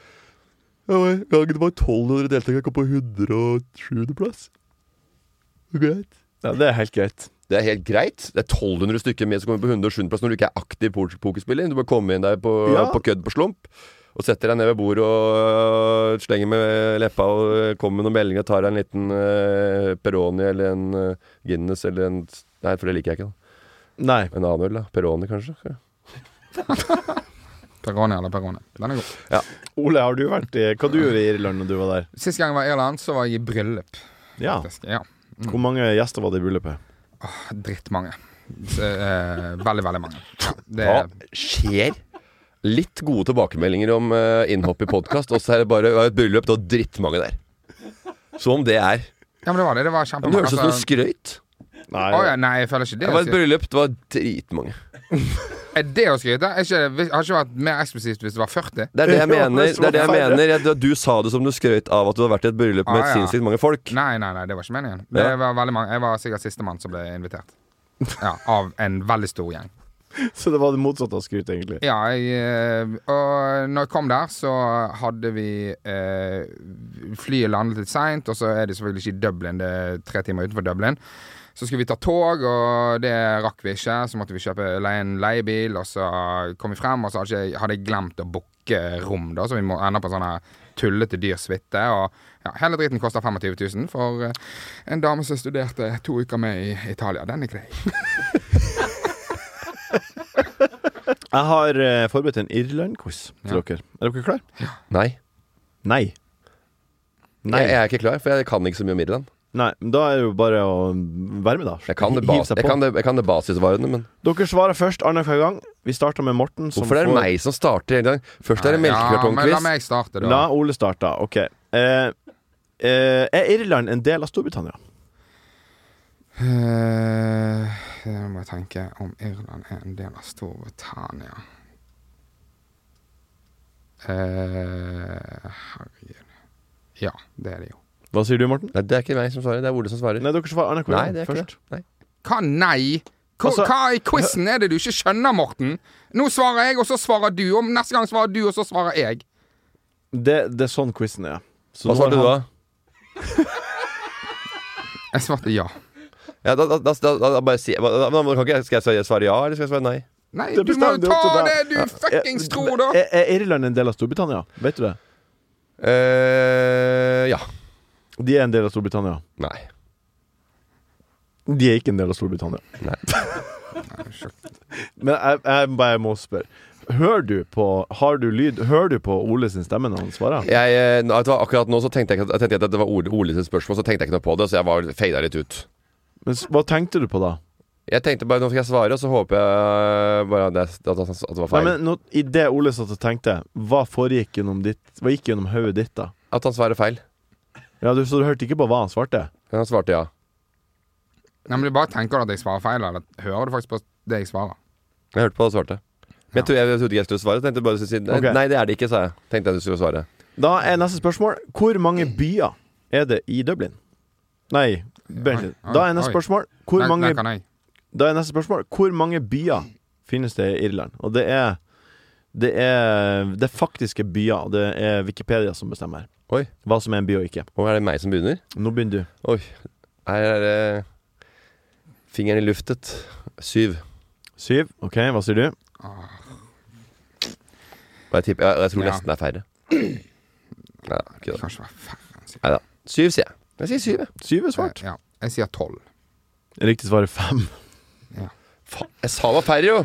Speaker 3: Ja, men gangen det var 1200 deltakere, jeg kom på 107. plass. Greit.
Speaker 2: Ja, Det er helt greit.
Speaker 3: Det er helt greit. Det er 1200 stykker med som kommer på 107. plass når du ikke er aktiv po- pokerspiller. Du bare kommer inn der på,
Speaker 2: Ja.
Speaker 3: på kødd på slump. Og setter deg ned ved bordet og øh, slenger med leppa og øh, kommer med noen meldinger. Tar deg en liten øh, Peroni eller en øh, Guinness eller en Nei, for det liker jeg ikke. da
Speaker 2: Nei.
Speaker 3: En annen øl, da. Peroni, kanskje.
Speaker 5: Peroni eller Peroni. Den er god.
Speaker 2: Ole, har du vært i Hva du gjorde i Irland når du var der?
Speaker 5: Sist gang jeg var i Irland, så var jeg i bryllup.
Speaker 2: Ja.
Speaker 5: faktisk. Ja.
Speaker 2: Hvor mange gjester var det i bryllupet?
Speaker 5: Drittmange. Så, eh, veldig, veldig mange. Ja, Det,
Speaker 3: Hva skjer? Litt gode tilbakemeldinger om eh, innhopp i podkast, og så er det bare ja, et bryllup. Det var drittmange der. Som om det er.
Speaker 5: ja, men det var det. Det var
Speaker 3: Men det
Speaker 5: kjempemange.
Speaker 3: høres
Speaker 5: Altså,
Speaker 3: ut som noe skrøyt.
Speaker 2: Nei.
Speaker 5: Å, ja, nei, jeg føler ikke det.
Speaker 3: Det var et bryllup, det var dritmange.
Speaker 5: Er det å skryte? Er ikke, det- har ikke vært mer eksplosivt hvis det var 40.
Speaker 3: Det er det
Speaker 2: Ja,
Speaker 3: jeg mener.
Speaker 2: det
Speaker 3: Det er det jeg
Speaker 2: var
Speaker 3: mener. Jeg, du sa det som du skrøt av at du har vært i et bryllup med
Speaker 5: Ah, ja.
Speaker 3: sinnssykt mange folk.
Speaker 5: Nei, nei, nei, det var ikke meningen. Det
Speaker 3: Ja.
Speaker 5: var veldig mange Jeg var sikkert sistemann som ble invitert. Ja, Av en veldig stor gjeng.
Speaker 2: Så det var det motsatte av skryt, egentlig.
Speaker 5: Ja, jeg, eh, og når jeg kom der, så hadde vi eh, Flyet landet litt seint, og så er det selvfølgelig ikke i Dublin, det er tre timer utenfor Dublin. Så skulle vi ta tog, og det rakk vi ikke. Så måtte vi kjøpe leie en leiebil, og så kom vi frem, og så hadde jeg, hadde jeg glemt å booke rom, da, så vi må ende på en sånn her tullete dyr suite. Og ja, hele driten koster 25 000 for eh, en dame som studerte to uker med i Italia. Den er grei.
Speaker 2: Jeg har eh, forberedt en Irland-quiz til
Speaker 5: Ja.
Speaker 2: dere. Er dere klare?
Speaker 3: Nei.
Speaker 2: Nei. Nei.
Speaker 3: Jeg, jeg er ikke klar, for jeg kan ikke så mye om Irland.
Speaker 2: Nei. men Da er det jo bare å være med, da.
Speaker 3: Jeg kan det,
Speaker 2: Hiv
Speaker 3: bas
Speaker 2: seg
Speaker 3: jeg
Speaker 2: på.
Speaker 3: kan det, jeg kan det basisvarene, men
Speaker 2: Dere svarer først annenhver gang. Vi starter med Morten. Som
Speaker 3: hvorfor er det
Speaker 2: får-
Speaker 3: meg som starter en gang? Først er det
Speaker 5: men la
Speaker 3: melkekartongquiz.
Speaker 5: meg starte, da.
Speaker 2: La Ole starte. OK. Eh, eh, er Irland en del av Storbritannia?
Speaker 5: Eh, Nå må jeg tenke om Irland er en del av Storbritannia. Eh, herregud Ja, det er det jo.
Speaker 2: Hva sier du, Morten?
Speaker 3: Nei, det er ikke meg som svarer, det er Ole som svarer.
Speaker 2: Nei, dere svarer annenhver
Speaker 3: Nei,
Speaker 2: gang
Speaker 3: det er ikke
Speaker 2: først.
Speaker 3: det. Nei.
Speaker 5: Hva nei? Hva,
Speaker 2: Altså-
Speaker 5: hva i quizen er det du ikke skjønner, Morten? Nå svarer jeg, og så svarer du. Og neste gang svarer du, og så svarer jeg.
Speaker 2: Det. det er sånn quizen er. Så
Speaker 3: Hva
Speaker 2: nå har
Speaker 3: svarte du da?
Speaker 2: han-
Speaker 5: Jeg svarte ja.
Speaker 3: Ja, da, da, da, da, da bare si da, da, da, kan ikke, jeg- Skal jeg svare- svare ja, eller skal jeg svare nei?
Speaker 5: Nei,
Speaker 2: Det
Speaker 5: du må
Speaker 2: bestemmer
Speaker 5: jo
Speaker 2: du
Speaker 5: ta
Speaker 2: også
Speaker 5: det
Speaker 2: der.
Speaker 5: du fuckings tror, da!
Speaker 2: Er, er Irland en del av Storbritannia? Vet du det?
Speaker 3: eh ja.
Speaker 2: De er en del av Storbritannia.
Speaker 3: Nei.
Speaker 2: De er ikke en del av Storbritannia.
Speaker 3: Nei.
Speaker 2: Men jeg, jeg bare må spørre. Hører du på Har du lyd? Hører du på Ole sin stemme når han svarer?
Speaker 3: Jeg, eh, nå- vet du hva, akkurat nå så tenkte jeg, ikke at- jeg tenkte at det var Ole, Ole sitt spørsmål, så tenkte jeg ikke noe på det, så jeg var fada litt ut.
Speaker 2: Men s- hva tenkte du på da?
Speaker 3: Jeg tenkte bare nå skal jeg svare, og så håper jeg bare at det, at det, at det var
Speaker 2: Nei,
Speaker 3: feil.
Speaker 2: men nå, I det Ole satt og tenkte, hva foregikk gjennom ditt Hva gikk gjennom hodet ditt da?
Speaker 3: At han svarer feil.
Speaker 2: Ja, du, Så du hørte ikke på hva han svarte?
Speaker 3: Men han svarte ja.
Speaker 5: Nei, men du bare tenker at jeg svarer feil, eller hører du faktisk på det jeg svarer?
Speaker 3: Jeg hørte på og svarte. Men jeg,
Speaker 5: Ja.
Speaker 3: trodde, jeg, jeg trodde ikke jeg skulle svare. så Tenkte jeg bare å si nei,
Speaker 2: Ok.
Speaker 3: nei, det er det ikke, sa jeg. Tenkte jeg du skulle svare.
Speaker 2: Da er neste spørsmål Hvor mange byer er det i Dublin? Nei, vent litt. Da er neste
Speaker 5: Oi.
Speaker 2: spørsmål Hvor
Speaker 5: Nei,
Speaker 2: mange
Speaker 5: nei, kan jeg.
Speaker 2: Da er neste spørsmål Hvor mange byer finnes det i Irland? Og det er Det er, det er faktiske byer og Det er Wikipedia som bestemmer
Speaker 3: Oi.
Speaker 2: Hva som er en by og ikke
Speaker 3: Og er det meg som begynner?
Speaker 2: Nå begynner du
Speaker 3: Oi. Her er det fingeren i luftet. Syv.
Speaker 2: Syv, ok, hva sier du?
Speaker 3: Og jeg, tipper, jeg, jeg tror
Speaker 5: Ja.
Speaker 3: nesten det er færre. Nei, det er ikke
Speaker 5: Det
Speaker 3: det.
Speaker 5: kan ikke være færre enn sikkert.
Speaker 3: Neida. Syv, sier jeg. Jeg sier syv, jeg.
Speaker 2: Syv er svart
Speaker 5: Eh, Ja, jeg sier tolv. eh.
Speaker 2: Riktig svar er fem
Speaker 3: Faen, jeg sa det var færre, jo!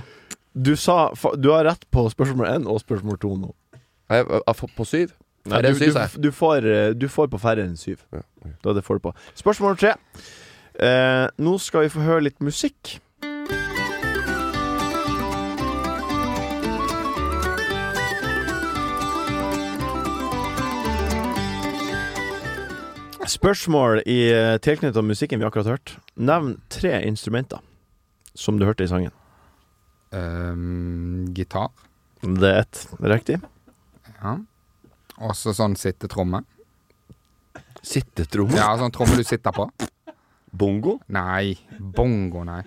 Speaker 2: Du sa fa- Du har rett på spørsmål 1 og spørsmål 2 nå
Speaker 3: Nei, jeg- jeg- jeg- På syv? Færre
Speaker 2: du,
Speaker 3: enn syv, sa jeg.
Speaker 2: du, du, får, eh, du får på færre enn syv.
Speaker 3: Ja,
Speaker 2: Da det får du på. Spørsmål tre. Eh, nå skal vi få høre litt musikk. Spørsmål i eh, tilknyttet av musikken vi akkurat har hørt. Nevn tre instrumenter som du hørte i sangen.
Speaker 5: Ehm, gitar.
Speaker 2: Det er ett riktig.
Speaker 5: Ja. Og så sånn sittetromme.
Speaker 3: Sittetromme?
Speaker 5: Ja, sånn tromme du sitter på.
Speaker 3: Bongo?
Speaker 5: Nei. Bongo, nei.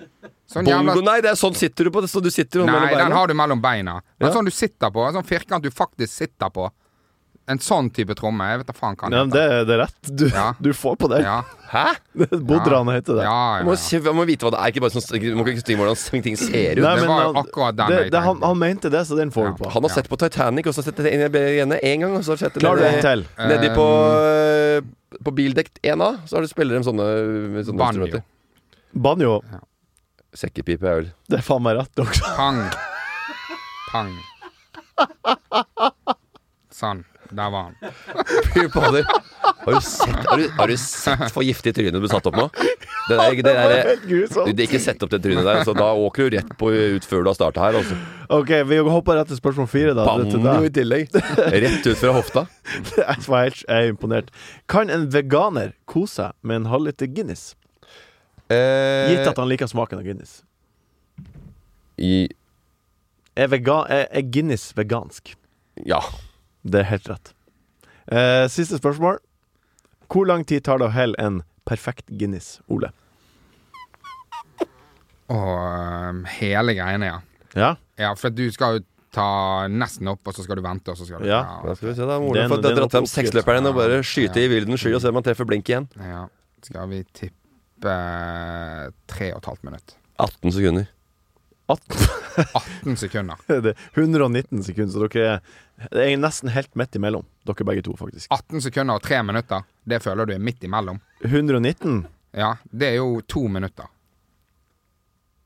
Speaker 5: Sånn
Speaker 3: Bongo,
Speaker 5: jævla
Speaker 3: nei, det er sånn sitter du på det. Sånn du sitter med
Speaker 5: Nei,
Speaker 3: mellom
Speaker 5: den
Speaker 3: beina.
Speaker 5: har du mellom beina. Men
Speaker 3: Ja.
Speaker 5: sånn du sitter på, en sånn firkant du faktisk sitter på. En sånn type tromme. Jeg vet da faen hva
Speaker 2: Ja,
Speaker 5: den
Speaker 2: det,
Speaker 5: heter.
Speaker 2: det er rett. Du,
Speaker 5: Ja.
Speaker 2: du får på den.
Speaker 5: Ja,
Speaker 3: Hæ?
Speaker 2: Bodran heter det.
Speaker 5: ja,
Speaker 3: Man
Speaker 5: ja.
Speaker 3: må,
Speaker 5: ja.
Speaker 3: se- man må vite hva det er. Ikke bare sånn, man kan ikke styre hvordan ting ser ut.
Speaker 2: Nei,
Speaker 5: Det
Speaker 2: men
Speaker 5: var jo
Speaker 2: han-
Speaker 5: akkurat den
Speaker 2: det,
Speaker 5: jeg
Speaker 2: det, han,
Speaker 5: tenkte.
Speaker 2: han mente det, så den får
Speaker 5: Ja.
Speaker 2: du på.
Speaker 3: Han har sett på Titanic, og så har sett det inn i igjen én gang. Og så har sett det
Speaker 2: Klarer du
Speaker 3: nedi-
Speaker 2: en til?
Speaker 3: Nedi på,
Speaker 5: Ehm,
Speaker 2: Um.
Speaker 3: eh, på bildekk 1A, så har du spiller de sånne, sånne
Speaker 5: Banjo.
Speaker 3: instrumenter.
Speaker 2: Banjo.
Speaker 3: Sekkepipe er vel
Speaker 2: Det er faen meg rett også.
Speaker 5: Pang. Pang. Sånn. Der var han.
Speaker 3: Fy fader. Har du sett, har du, har du sett for giftig trynet du satt opp nå? Det der, det der, du,
Speaker 2: Grusomt.
Speaker 3: det er ikke sett opp det trynet der, så da åker du rett på ut før du har starta her. Altså.
Speaker 2: OK, vi hopper rett til spørsmål fire, da. Det er til
Speaker 3: Banjo i
Speaker 2: deg.
Speaker 3: tillegg. Rett ut fra hofta.
Speaker 2: Jeg var helt- jeg er imponert. Kan en veganer kose seg med en halvliter Guinness? Gitt at han liker smaken av Guinness.
Speaker 3: I,
Speaker 2: Er, vega, er, er Guinness vegansk?
Speaker 3: ja.
Speaker 2: Det er helt rett. Eh, siste spørsmål. Hvor lang tid tar det å helle en perfekt Guinness, Ole?
Speaker 5: Og øhm, hele greiene, ja.
Speaker 2: Ja,
Speaker 5: Ja, for du skal jo ta nesten opp, og så skal du vente, og så skal du
Speaker 2: Ja.
Speaker 3: Da skal vi se, da. Ole
Speaker 2: Det er
Speaker 3: har
Speaker 2: no-
Speaker 3: fått
Speaker 2: det er
Speaker 3: dratt
Speaker 2: noe
Speaker 3: frem seksløperen og bare skyte i vilden sky og se om han treffer blink igjen.
Speaker 5: ja. ja. Skal vi tippe eh, tre og et halvt minutt.
Speaker 3: 18 sekunder.
Speaker 5: 18 sekunder.
Speaker 2: det er 119 sekunder, så dere er- det er nesten helt midt imellom. Dere begge to, faktisk.
Speaker 5: 18 sekunder og tre minutter, det føler du er midt imellom.
Speaker 2: 119?
Speaker 5: Ja, det er jo to minutter.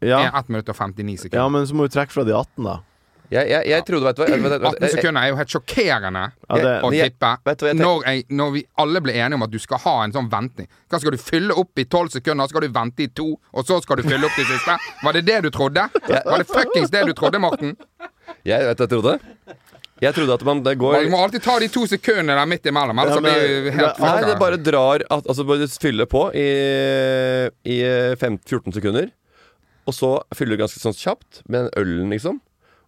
Speaker 5: Det er
Speaker 2: Ja,
Speaker 5: 1 minutt og 59 sekunder.
Speaker 2: ja men så må du trekke fra de 18, da.
Speaker 3: Jeg, jeg, jeg trodde, vet du hva vet du hva-
Speaker 5: 18 sekunder er jo helt sjokkerende
Speaker 2: Ja, det-
Speaker 5: å
Speaker 3: men jeg-
Speaker 5: tippe.
Speaker 3: vet du hva jeg tenk-
Speaker 5: når, jeg, når vi alle ble enige om at du skal ha en sånn venting. Hva Skal du fylle opp i 12 sekunder, så skal du vente i to, og så skal du fylle opp de siste? Var det det du trodde? Var det fuckings det du trodde, Morten?
Speaker 3: Jeg, vet du hva jeg trodde? Jeg trodde at man det går
Speaker 5: Man må alltid ta de to sekundene der midt imellom, ellers
Speaker 2: Ja,
Speaker 5: så blir
Speaker 2: men-
Speaker 5: vi helt
Speaker 3: Nei,
Speaker 5: fucka.
Speaker 3: det bare drar at, Altså bare fyller på i, i eh, fem- 14 sekunder Og så fyller du ganske sånn kjapt Med den ølen liksom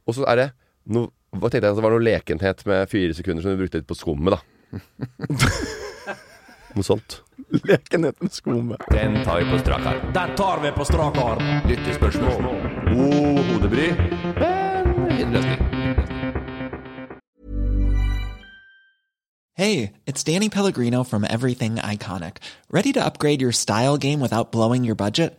Speaker 3: Og så er det no, Hva tenkte jeg at det var noe lekenhet med fire sekunder Som du brukte litt på skommet da Noe sånt
Speaker 2: Lekenhet med skummet.
Speaker 4: Den tar vi på strak arm. Den tar vi på strak arm. Lyttespørsmål.
Speaker 3: God hodebry
Speaker 8: Hey, it's Danny Pellegrino from Everything Iconic. Ready to upgrade your style game without blowing your budget?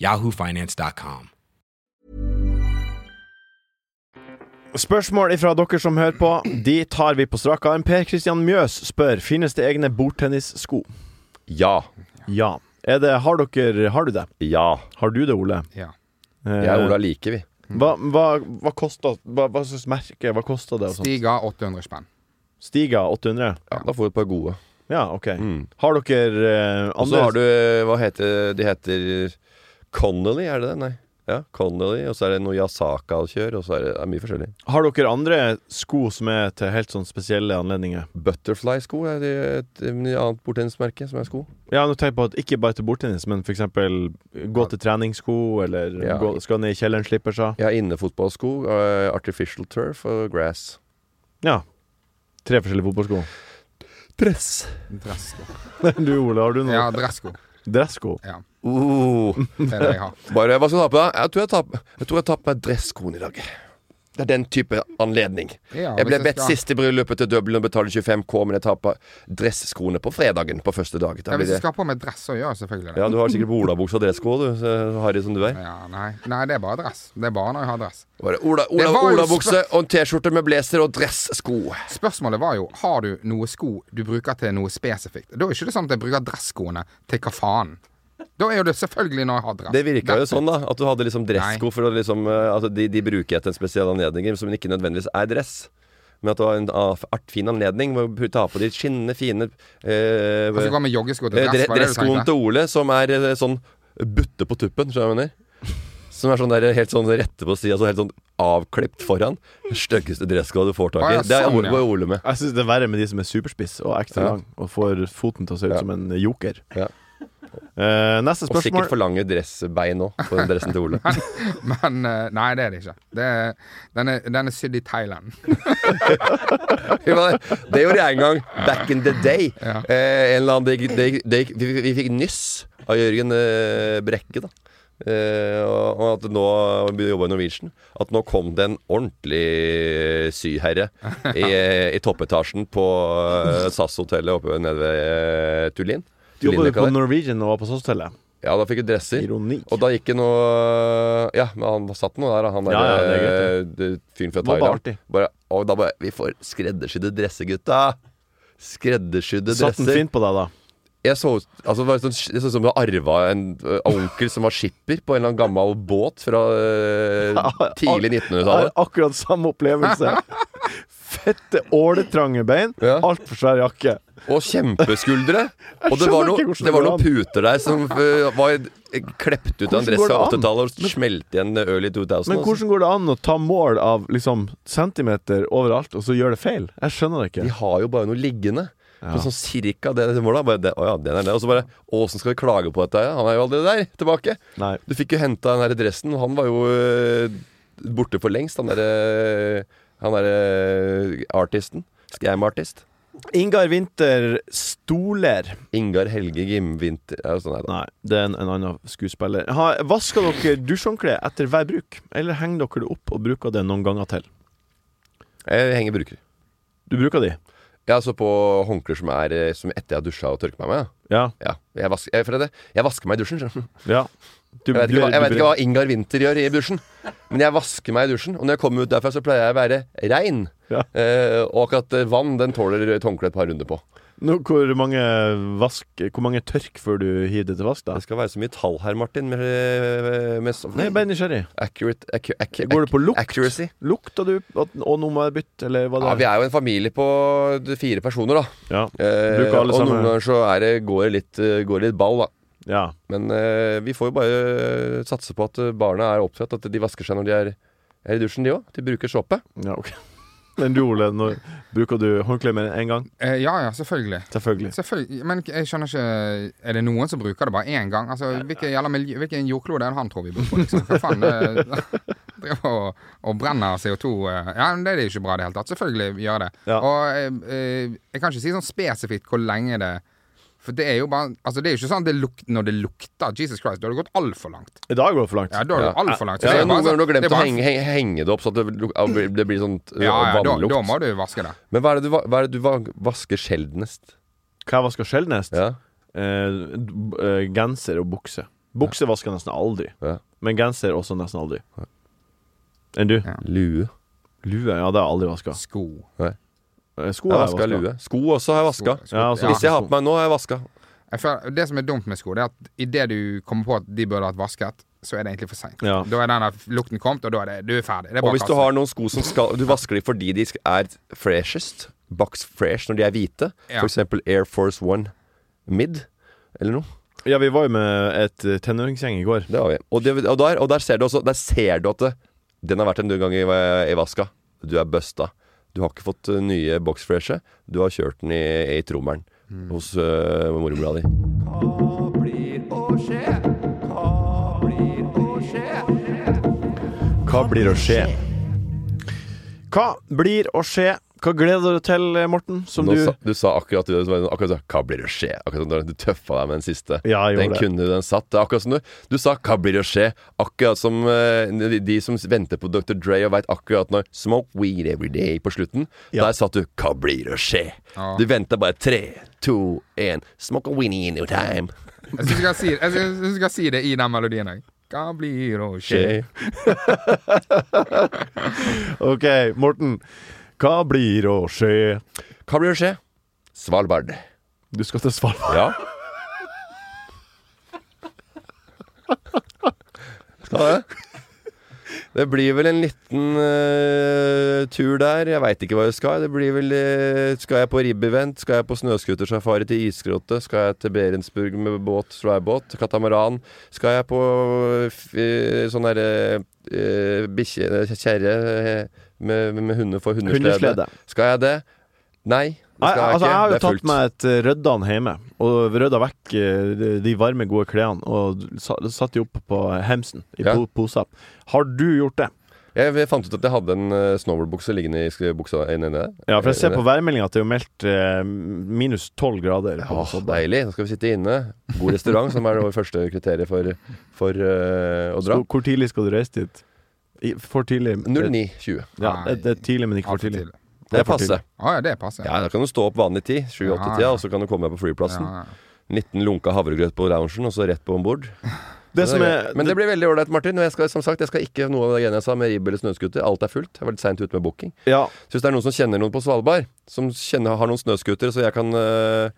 Speaker 9: yahoofinance.com.
Speaker 2: Spørsmål ifra dere som hører på, de tar vi på strak arm. Per Kristian Mjøs spør Finnes det egne bordtennissko.
Speaker 3: Ja,
Speaker 2: Ja. Er det, har dere Har du det?
Speaker 3: ja
Speaker 2: Har du det, Ole?
Speaker 5: Ja.
Speaker 2: Eh,
Speaker 3: Jeg og Ola liker vi
Speaker 2: Hva, hva, hva kosta hva, hva slags merke? Hva kosta det? og
Speaker 3: sånn.
Speaker 2: sånt?
Speaker 5: Stiga 800 spenn.
Speaker 2: Stiga 800?
Speaker 3: ja, Da får vi et par gode
Speaker 2: Ja, OK.
Speaker 3: Mm.
Speaker 2: Har dere eh, andre
Speaker 3: Og så har du, hva heter De heter Connolly, er det det? Nei. Ja, Connolly, og så er det noe Yasaka-kjør, og så er det, det er mye forskjellig.
Speaker 2: Har dere andre sko som er til helt sånn spesielle anledninger?
Speaker 3: Butterfly-sko er det et, et annet bordtennismerke som er sko.
Speaker 2: Ja, nå tenker jeg på at Ikke bare til bordtennis, men f.eks. gå til treningssko, eller
Speaker 3: Ja.
Speaker 2: gå, skal ned i kjelleren, slipper seg.
Speaker 3: Jeg har innefotballsko, eh, artificial turf og grass.
Speaker 2: Ja. Tre forskjellige fotballsko.
Speaker 3: Press.
Speaker 5: Dressko.
Speaker 2: Du, Ole, har du noe?
Speaker 5: Ja, dressko.
Speaker 2: Dressko?
Speaker 5: Ja.
Speaker 3: Uh.
Speaker 5: Det er det jeg har.
Speaker 3: Bare, hva skal du ha på deg? Jeg tror jeg tar, jeg tror jeg tar på meg dresskoen i dag. Det er den type anledning.
Speaker 5: Ja,
Speaker 3: jeg ble
Speaker 5: hvis jeg
Speaker 3: bedt
Speaker 5: skal-
Speaker 3: sist i bryllupet til Dublin å betale 25K, men jeg tar på dresskoene på fredagen på første dag. Da
Speaker 5: Ja,
Speaker 3: blir
Speaker 5: hvis jeg
Speaker 3: det...
Speaker 5: skal ha på meg dress, så gjør jeg selvfølgelig det.
Speaker 3: Ja, du har sikkert på olabukse og dressko, du. så Harry som du er.
Speaker 5: Ja, nei. nei, det er bare dress. Det er bare når jeg har dress.
Speaker 3: Bare Ola,
Speaker 5: Det
Speaker 3: Ola,
Speaker 5: var jo
Speaker 3: olabukse
Speaker 5: spør-
Speaker 3: og en T-skjorte med blazer og dressko.
Speaker 5: Spørsmålet var jo har du noe sko du bruker til noe spesifikt. Da er ikke det sånn at jeg bruker dresskoene til hva faen. Da er jo det selvfølgelig når jeg har dress.
Speaker 3: Det virka jo
Speaker 5: That's
Speaker 3: sånn,
Speaker 5: it.
Speaker 3: da. At du hadde liksom dressko. For å liksom, eh, altså, de, de bruker jeg til en spesiell anledning, som ikke nødvendigvis er dress. Men at det var en ah, art, fin anledning med å ta på de skinnende fine eh,
Speaker 5: Altså, du går med joggesko til
Speaker 3: eh,
Speaker 5: dress,
Speaker 3: dre-
Speaker 5: var det det du
Speaker 3: Dresskoen
Speaker 5: tenkte?
Speaker 3: til Ole, som er eh, sånn butte på tuppen, skjønner du hva jeg mener? Som er sånn der, helt sånn rette på sida, så helt sånn avklipt foran. Den styggeste dresskoa du får tak i. Det er
Speaker 5: sånn,
Speaker 3: Ole, var Ole med.
Speaker 2: Jeg syns det er verre med de som er superspiss og ekstra
Speaker 3: Ja.
Speaker 2: lang og får foten til å se ut som en joker.
Speaker 3: Ja.
Speaker 2: Eh, neste
Speaker 3: Og
Speaker 2: spørsmål
Speaker 3: sikkert for lange dressbein òg, på den dressen til Ole.
Speaker 5: Men eh, nei, det er det ikke. Det er, den, er, den er sydd i Thailand.
Speaker 3: Vi var- Det gjorde jeg en gang. Back in the day. Eh, en eller annen, det, gikk- det, gikk- det, gikk- vi, vi fikk nyss av Jørgen eh, Brekke, da. Eh, og, og at nå vi jobba i Norwegian. At nå kom det en ordentlig syherre i, i toppetasjen på eh, SAS-hotellet oppe nede ved eh, Tulin.
Speaker 2: Jobba du
Speaker 3: Tulinløkka
Speaker 2: på
Speaker 3: der.
Speaker 2: Norwegian og var på SAS-hotellet?
Speaker 3: Ja, da fikk jeg dresser.
Speaker 2: Ironi.
Speaker 3: Og da gikk det noe Ja, men han satt nå der, han der
Speaker 2: Ja, ja, det er
Speaker 3: eh, det- fyren fra
Speaker 2: Det var bare
Speaker 3: Thailand.
Speaker 2: artig.
Speaker 3: Bare, og da bare Vi får skreddersydde dresser, gutta! Skreddersydde
Speaker 2: Satt den
Speaker 3: dresser.
Speaker 2: fint på deg, da?
Speaker 3: Jeg så ut altså, det var sånn, jeg så ut som jeg arva en ø, onkel som var skipper på en eller annen gammel båt fra ø, tidlig
Speaker 2: Har
Speaker 3: 1900-tallet.
Speaker 2: akkurat samme opplevelse. Fette åletrange bein, altfor svær jakke.
Speaker 3: Og kjempeskuldre. Og det
Speaker 2: skjønner
Speaker 3: var, noe,
Speaker 2: ikke hvordan
Speaker 3: det var
Speaker 2: det går
Speaker 3: noen puter der som ø, var eh, klept ut av en
Speaker 2: Hvordan
Speaker 3: dress
Speaker 2: går det
Speaker 3: fra
Speaker 2: an?
Speaker 3: 80-tallet og smelte igjen early 2000.
Speaker 2: Men hvordan går det an å ta mål av liksom centimeter overalt, og så gjør det feil? Jeg skjønner det ikke.
Speaker 3: De har jo bare noe liggende.
Speaker 2: Ja.
Speaker 3: Men sånn cirka det det målet. Bare det, å ja, den er det. Og så bare Åssen skal vi klage på dette? her? Han er jo aldri der tilbake.
Speaker 2: Nei.
Speaker 3: Du fikk jo henta den der dressen. Han var jo øh, borte for lengst, han derre Han derre øh, artisten. Scam-artist.
Speaker 2: Ingar Winther Stoler.
Speaker 3: Ingar Helge Gimvinter ja, sånn er det.
Speaker 2: Nei, det er en, en annen skuespiller. Ha, vasker dere dusjhåndkle etter hver bruk, eller henger dere det opp og bruker det noen ganger til?
Speaker 3: Jeg henger bruker.
Speaker 2: Du bruker de?
Speaker 3: Jeg er så på håndklær som er øh, Som etter jeg har dusja og tørket meg med.
Speaker 2: Ja.
Speaker 3: Ja, jeg, vas jeg, for det, jeg vasker meg i dusjen. skjønner du.
Speaker 2: ja. Du-
Speaker 3: Jeg vet,
Speaker 2: du-
Speaker 3: ikke hva, jeg
Speaker 2: du-
Speaker 3: vet ikke hva Ingar Winther gjør i dusjen, men jeg vasker meg i dusjen. Og når jeg kommer ut derfra, så pleier jeg å være rein.
Speaker 2: Ja.
Speaker 3: Eh, og akkurat eh, vann, den tåler et håndkle et par runder på.
Speaker 2: Nå, hvor, mange vask, hvor mange tørk før du hiver det til vask, da?
Speaker 3: Det skal være så mye tall her, Martin. Med,
Speaker 2: Nei,
Speaker 3: med,
Speaker 2: jeg er bare nysgjerrig.
Speaker 3: accurate, accu, accu,
Speaker 2: Går det på lukt?
Speaker 3: Accuracy.
Speaker 2: Lukta du at Og nå må jeg bytte, eller hva
Speaker 3: Ja,
Speaker 2: det
Speaker 3: vi er jo en familie på fire personer, da.
Speaker 2: Ja.
Speaker 3: Eh,
Speaker 2: Bruker alle
Speaker 3: og
Speaker 2: sammen-
Speaker 3: noen ganger så er det, går det litt, eh, går det litt ball, da.
Speaker 2: ja.
Speaker 3: Men eh, vi får jo bare eh, satse på at eh, barna er opptatt, at de vasker seg når de er, er i dusjen, de òg. De bruker såpe.
Speaker 2: Ja, ok. Men du, Ole, nå bruker du håndkle mer enn én gang?
Speaker 5: Eh, ja, ja, selvfølgelig.
Speaker 2: Selvfølgelig.
Speaker 5: Selvfølgelig, Men jeg skjønner ikke eh, Er det noen som bruker det bare én gang? Altså, hvilken, jævla miljø, hvilken jordklode er det han tror vi bor på, liksom? Hva faen? eh, Driver og, og brenner CO2 eh, Ja, men det er jo ikke bra i det hele tatt. Selvfølgelig gjør det.
Speaker 2: Ja.
Speaker 5: Og eh, eh, jeg kan ikke si sånn spesifikt hvor lenge det For det er jo bare Altså, det er jo ikke sånn at det luk, når det lukter Jesus Christ, da har det gått altfor langt.
Speaker 2: I dag går det for langt.
Speaker 5: Ja, da har det gått altfor langt. så
Speaker 3: Ja,
Speaker 5: det er
Speaker 3: noen
Speaker 5: bare
Speaker 3: ganger
Speaker 5: sånn-
Speaker 3: du har
Speaker 5: det
Speaker 3: glemt
Speaker 5: er
Speaker 3: å
Speaker 5: bare-
Speaker 3: henge, henge, henge det opp, så at det, luk- ja, blir- det blir sånn øh,
Speaker 5: Ja, ja, da,
Speaker 3: vannlukt.
Speaker 5: da må du vaske det.
Speaker 3: Men hva er det du, va- hva er det du va- vasker sjeldnest?
Speaker 2: Hva jeg vasker sjeldnest?
Speaker 3: Ja.
Speaker 2: Eh, d- eh, genser og bukse. Bukse vasker jeg nesten aldri,
Speaker 3: Ja.
Speaker 2: men genser også nesten aldri. Enn du?
Speaker 5: Ja.
Speaker 3: Lue.
Speaker 2: Lue? Ja, det har jeg aldri vaska.
Speaker 5: Sko.
Speaker 2: Sko
Speaker 3: Jeg
Speaker 2: har
Speaker 3: vaska
Speaker 2: jeg
Speaker 3: lue. Sko også har jeg vaska.
Speaker 5: Sko- sko-
Speaker 2: Ja, altså,
Speaker 5: ja.
Speaker 3: Disse jeg har på meg nå, har jeg vaska.
Speaker 5: Jeg føler, det som er dumt med sko, det er at idet du kommer på at de burde vært vasket, så er det egentlig for seint.
Speaker 2: Ja.
Speaker 5: Da er den der lukten kommet, og da er det, du er ferdig. Det er
Speaker 3: Og
Speaker 5: bare
Speaker 3: hvis du har noen sko som skal Du vasker de fordi de sk- er freshest. Box fresh når de er hvite.
Speaker 5: Ja.
Speaker 3: For eksempel Air Force One Mid. Eller noe.
Speaker 2: Ja, vi var jo med et eh, tenåringsgjeng i går.
Speaker 3: Det har vi. Og, det, og, der, og der ser du også Der ser du at det, den har vært en gang i, i vaska. Du er busta. Du har ikke fått eh, nye boxfreshe. Du har kjørt den i, i trommelen hos uh, mormora di.
Speaker 2: Hva blir å skje? Hva blir å skje Hva gleder du deg til, eh, Morten? Som
Speaker 3: Nå
Speaker 2: du
Speaker 3: sa, du sa akkurat det som- akkurat sa, Hva blir det å skje? Akkurat som da du tøffa deg med den siste.
Speaker 2: Ja, jeg gjorde
Speaker 3: den
Speaker 2: det.
Speaker 3: kunne den satt. Det er akkurat som du Du sa 'hva blir det å skje?' Akkurat som eh, de, de som venter på Dr. Dre og veit akkurat når 'smoke weed every day' på slutten. Der satt du 'hva blir det å skje?'
Speaker 5: Ja.
Speaker 3: Du venta bare tre, to, én 'Smoke a weenie in your time'.
Speaker 5: Jeg syns jeg, kan si, jeg synes- jeg synes jeg kan si det i den melodien. Jeg. Hva blir å skje?
Speaker 2: OK, Morten. Hva blir å skje?
Speaker 3: Hva blir å skje? Svalbard.
Speaker 2: Du skal til Svalbard?
Speaker 3: Ja. Skal det? Det blir vel en liten eh, tur der. Jeg veit ikke hva jeg skal. Det blir vel eh, Skal jeg på ribbevent? Skal jeg på snøscootersafari til isgrotte? Skal jeg til Berensburg med båt, sværbåt, katamaran? Skal jeg på eh, sånn derre uh, kjerre eh, med, med hunder for hundeslede?
Speaker 2: Hundeslede.
Speaker 3: Skal jeg det? Nei. Det
Speaker 2: Nei,
Speaker 3: skal jeg
Speaker 2: altså,
Speaker 3: ikke.
Speaker 2: jeg har jo
Speaker 3: det er
Speaker 2: tatt
Speaker 3: fullt.
Speaker 2: meg et eh, Røddan hjemme, og rydda vekk eh, de- de varme, gode klærne, og sa- satt de opp på hemsen i
Speaker 3: Ja.
Speaker 2: po- poser. Har du gjort det?
Speaker 3: Jeg jeg fant ut at jeg hadde en eh, snowboardbukse liggende i sk- buksa inni der.
Speaker 2: Ja, for jeg ser
Speaker 3: Inni
Speaker 2: på
Speaker 3: der.
Speaker 2: værmeldinga at det er jo meldt eh, minus tolv grader. på
Speaker 3: Åh,
Speaker 2: Svalbard.
Speaker 3: deilig. Nå skal vi sitte inne. God restaurant, som er det første kriteriet for, for eh, å dra.
Speaker 2: Så Hvor tidlig skal du reise dit? I- For tidlig?
Speaker 3: 09.20.
Speaker 2: Ja, det, det er tidlig, men ikke for tidlig.
Speaker 3: Det er
Speaker 2: for
Speaker 3: passe.
Speaker 2: tidlig.
Speaker 5: Å ja, det passer.
Speaker 3: Ja, da kan du stå opp vanlig tid, 7-8-tida,
Speaker 5: Ja, ja.
Speaker 3: og så kan du komme deg på flyplassen.
Speaker 5: Ja, ja.
Speaker 3: 19 lunka havregrøt på loungen, og så rett på om bord.
Speaker 2: Det som er-
Speaker 3: Men det blir veldig ålreit, Martin. Og jeg skal, som sagt, jeg skal ikke noe av det greiene jeg sa med ribb eller snøscooter. Alt er fullt. Jeg var litt seint ute med booking.
Speaker 2: Ja.
Speaker 3: Så hvis det er noen som kjenner noen på Svalbard, som kjenner, har noen snøscooter, så jeg kan eh,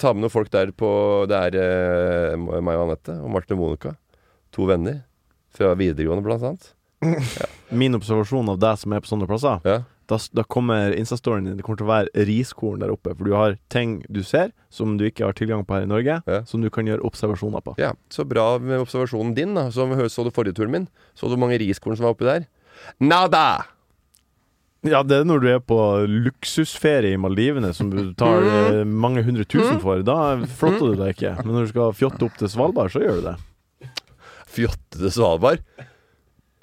Speaker 3: ta med noen folk der på Det er eh, meg og Anette og Martin og Monica. To venner fra videregående, blant annet.
Speaker 2: Min observasjon av deg som er på sånne plasser, da, s- da kommer Insta-storyen din Det kommer til å være riskorn der oppe. For du har ting du ser som du ikke har tilgang på her i Norge, som du kan gjøre observasjoner på.
Speaker 3: Ja, så bra med observasjonen din, da. Som hø- så du forrige turen min. Så du hvor mange riskorn som var oppi der? Nada!
Speaker 2: Ja, det er når du er på luksusferie i Maldivene, som du tar
Speaker 3: Mm.
Speaker 2: eh, mange hundre tusen for. Da flotter du deg ikke. Men når du skal fjotte opp til Svalbard, så gjør du det.
Speaker 3: Fjotte til Svalbard?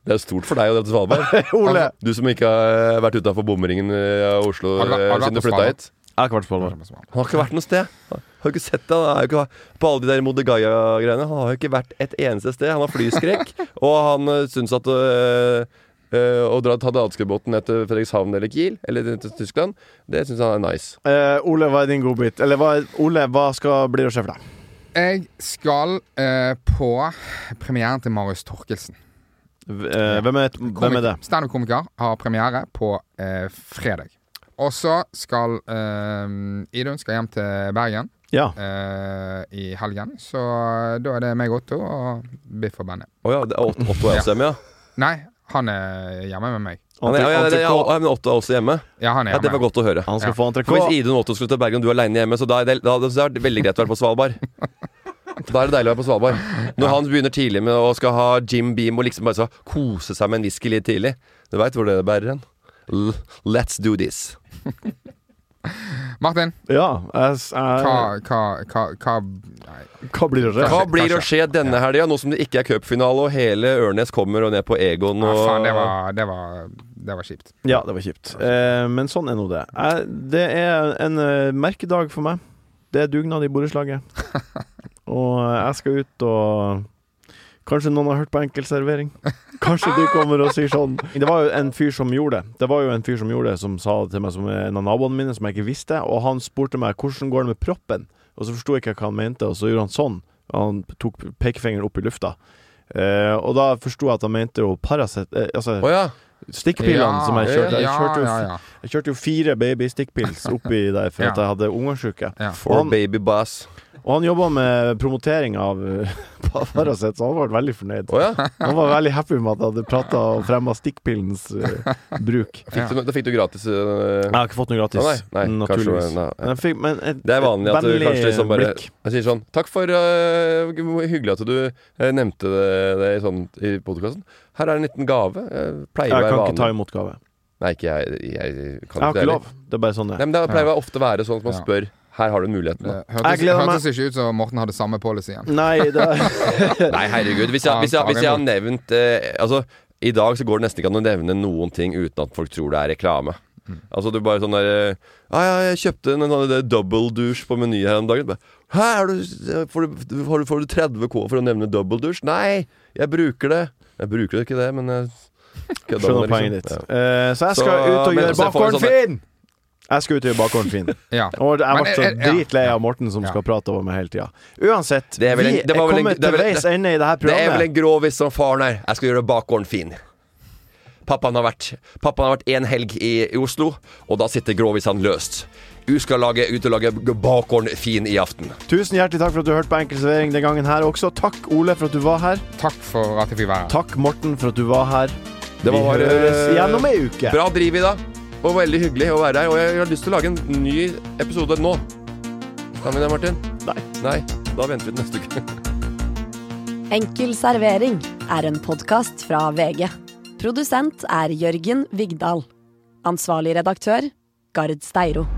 Speaker 3: Det er stort for deg å dra til Svalbard.
Speaker 2: Ole!
Speaker 3: Du som ikke har vært utafor bomringen eh, av Oslo
Speaker 5: Har du vært-
Speaker 3: eh,
Speaker 5: har du vært
Speaker 3: siden du
Speaker 5: på
Speaker 3: flytta
Speaker 5: Svalbard?
Speaker 3: hit.
Speaker 2: Jeg har ikke vært på Svalbard.
Speaker 3: Han har ikke vært noe sted. Han Har ikke sett det. Han er jo ikke på alle de der Modigaya-greiene. Han har jo ikke vært et eneste sted. Han har flyskrekk, og han øh, syns at øh, øh, å dra Tadeadskebåten ned til Fredrikshavn eller Kiel, eller til Tyskland, det syns han er nice.
Speaker 2: Eh, Ole, hva er din godbit? Eller hva, Ole, hva skal bli å skje for deg?
Speaker 5: Jeg skal eh, på premieren til Marius Torkelsen.
Speaker 2: V- eh, hvem, er, hvem er det?
Speaker 5: Standup-komiker har premiere på eh, fredag. Og så skal eh, Idun skal hjem til Bergen
Speaker 2: Ja.
Speaker 5: eh, i helgen. Så eh, da er det meg, Otto, og Biff og Benny.
Speaker 3: Å ja, det er Otto, Otto er også hjemme, ja.
Speaker 5: Nei, han er hjemme med meg.
Speaker 3: Han er, ja, ja, det- ja, ja, men Otto er også hjemme.
Speaker 5: Ja, han er
Speaker 3: Ja, Det
Speaker 5: hjemme.
Speaker 3: var godt å høre.
Speaker 2: Han skal
Speaker 5: Ja.
Speaker 2: få entrecôte.
Speaker 3: For Hvis Idun og Otto skulle til Bergen, og du er aleine hjemme, så da er det, da, da er det veldig greit å være på Svalbard. Da er det deilig å være på Svalbard. Når han begynner tidlig med å skal ha Jim Beam og liksom bare skal kose seg med en whisky litt tidlig Du veit hvor det bærer hen. L- Let's do this.
Speaker 5: Martin,
Speaker 2: Ja, jeg, s- jeg,
Speaker 5: hva, hva, hva, hva nei.
Speaker 2: Hva blir det å skje?
Speaker 3: Hva blir å skje denne helga, nå som det ikke er cupfinale og hele Ørnes kommer og ned på Egon
Speaker 5: Ja,
Speaker 3: og
Speaker 5: faen, det var, det, var, det var kjipt.
Speaker 2: Ja, det var kjipt. Eh, men sånn er nå det. Jeg, det er en eh, merkedag for meg. Det er dugnad i borettslaget. Og eh, jeg skal ut og Kanskje noen har hørt på enkeltservering. Kanskje du kommer og sier sånn. Det var jo en fyr som gjorde det. Det var jo en fyr som gjorde det, som sa det til meg som en av naboene mine, som jeg ikke visste. Og han spurte meg hvordan går det med proppen, og så forsto jeg ikke hva han mente, og så gjorde han sånn. Han tok pekefingeren opp i lufta. Eh, og da forsto jeg at han mente jo Paracet eh, Altså
Speaker 3: Å ja.
Speaker 2: stikkpillene
Speaker 5: Ja,
Speaker 2: som jeg kjørte. Jeg
Speaker 5: ja,
Speaker 2: kjørte jo,
Speaker 5: ja, ja.
Speaker 2: Jeg kjørte jo fire babystikkpils oppi der for
Speaker 5: Ja.
Speaker 2: at jeg hadde ungarsjuke.
Speaker 5: Ja.
Speaker 3: For baby bass.
Speaker 2: Og han jobba med promotering av eh, Paracet, så han var veldig fornøyd.
Speaker 3: Å ja.
Speaker 2: Han var veldig happy med at jeg hadde prata og fremma stikkpillens eh, bruk.
Speaker 3: Fikk du, da fikk du gratis øh,
Speaker 2: Jeg har ikke fått noe gratis,
Speaker 3: Nei, nei, kanskje-
Speaker 2: naturligvis.
Speaker 3: nei, nei.
Speaker 2: Men jeg fikk- men et-
Speaker 3: Det er vanlig at du
Speaker 2: vennlig
Speaker 3: kanskje liksom bare
Speaker 2: blikk.
Speaker 3: Jeg sier sånn Takk for øh, hvor Hyggelig at du øh, nevnte det, det i sånn, i podkasten. Her er en liten gave. Jeg pleier å
Speaker 2: Jeg
Speaker 3: være
Speaker 2: kan ikke ta
Speaker 3: vanlig.
Speaker 2: imot gave.
Speaker 3: Nei, ikke jeg. Jeg, kan
Speaker 2: Jeg har
Speaker 3: det
Speaker 2: ikke
Speaker 3: heller.
Speaker 2: lov. Det er bare sånn det
Speaker 3: Nei,
Speaker 2: er.
Speaker 3: men Det pleier å være ofte å være sånn at man
Speaker 5: Ja.
Speaker 3: spør Her har du muligheten.
Speaker 5: Det
Speaker 3: Da.
Speaker 5: hørtes,
Speaker 2: gleder meg.
Speaker 5: hørtes ikke ut som Morten hadde samme policyen.
Speaker 2: Nei, det er
Speaker 3: Nei, herregud. Hvis jeg, hvis jeg, eh, hvis jeg har nevnt øh, Altså, i dag så går det nesten ikke an å nevne noen ting uten at folk tror det er reklame.
Speaker 2: Mm.
Speaker 3: Altså du bare sånn der eh, Ja, ja, jeg kjøpte en, en sånn der double douche på Meny her om dagen. Bare, Hæ, er du, eh, får, du, får, du, får du 30 K for å nevne double douche? Nei, jeg bruker det. Jeg bruker ikke det, men jeg kødda
Speaker 2: Skjønner
Speaker 3: med det,
Speaker 2: poenget
Speaker 3: liksom.
Speaker 2: ditt.
Speaker 3: Ja.
Speaker 2: Eh, så jeg skal
Speaker 3: Så-
Speaker 2: ut og
Speaker 3: men-
Speaker 2: gjøre
Speaker 3: så jeg får en
Speaker 2: bakgården
Speaker 3: sånn-
Speaker 2: fin! Jeg skal ut og gjøre bakgården fin.
Speaker 5: Ja.
Speaker 2: Og jeg
Speaker 5: Men,
Speaker 2: ble så
Speaker 5: eh, ja.
Speaker 2: dritlei av Morten som skal prate over meg hele tida. Uansett,
Speaker 3: Det er vel en-
Speaker 2: vi
Speaker 3: det
Speaker 2: er
Speaker 3: var vel en-
Speaker 2: kommet
Speaker 3: det er
Speaker 2: til
Speaker 3: vel-
Speaker 2: veis ende i det her
Speaker 3: Det er vel
Speaker 2: programmet.
Speaker 3: en grovis som faren er. Jeg skal gjøre bakgården fin. Pappaen har vært Pappaen har vært en helg i i Oslo, og da sitter grovisene løst. Du skal lage, ut og lage bakgården fin i aften.
Speaker 2: Tusen hjertelig takk for at du hørte på Enkel servering den gangen her også. Takk, Ole, for at du var her.
Speaker 5: Takk for at jeg fikk være her.
Speaker 2: Takk, Morten, for at du var her.
Speaker 3: Det var
Speaker 2: vi
Speaker 3: bare eh,
Speaker 2: høres igjen om ei uke.
Speaker 3: Bra driv i dag. Og veldig hyggelig å være her. Og jeg har lyst til å lage en ny episode nå. Kan vi det, Martin?
Speaker 2: Nei.
Speaker 3: Nei. Da venter vi til neste uke.
Speaker 1: Enkel servering er en podkast fra VG. Produsent er Jørgen Vigdal. Ansvarlig redaktør, Gard Steiro.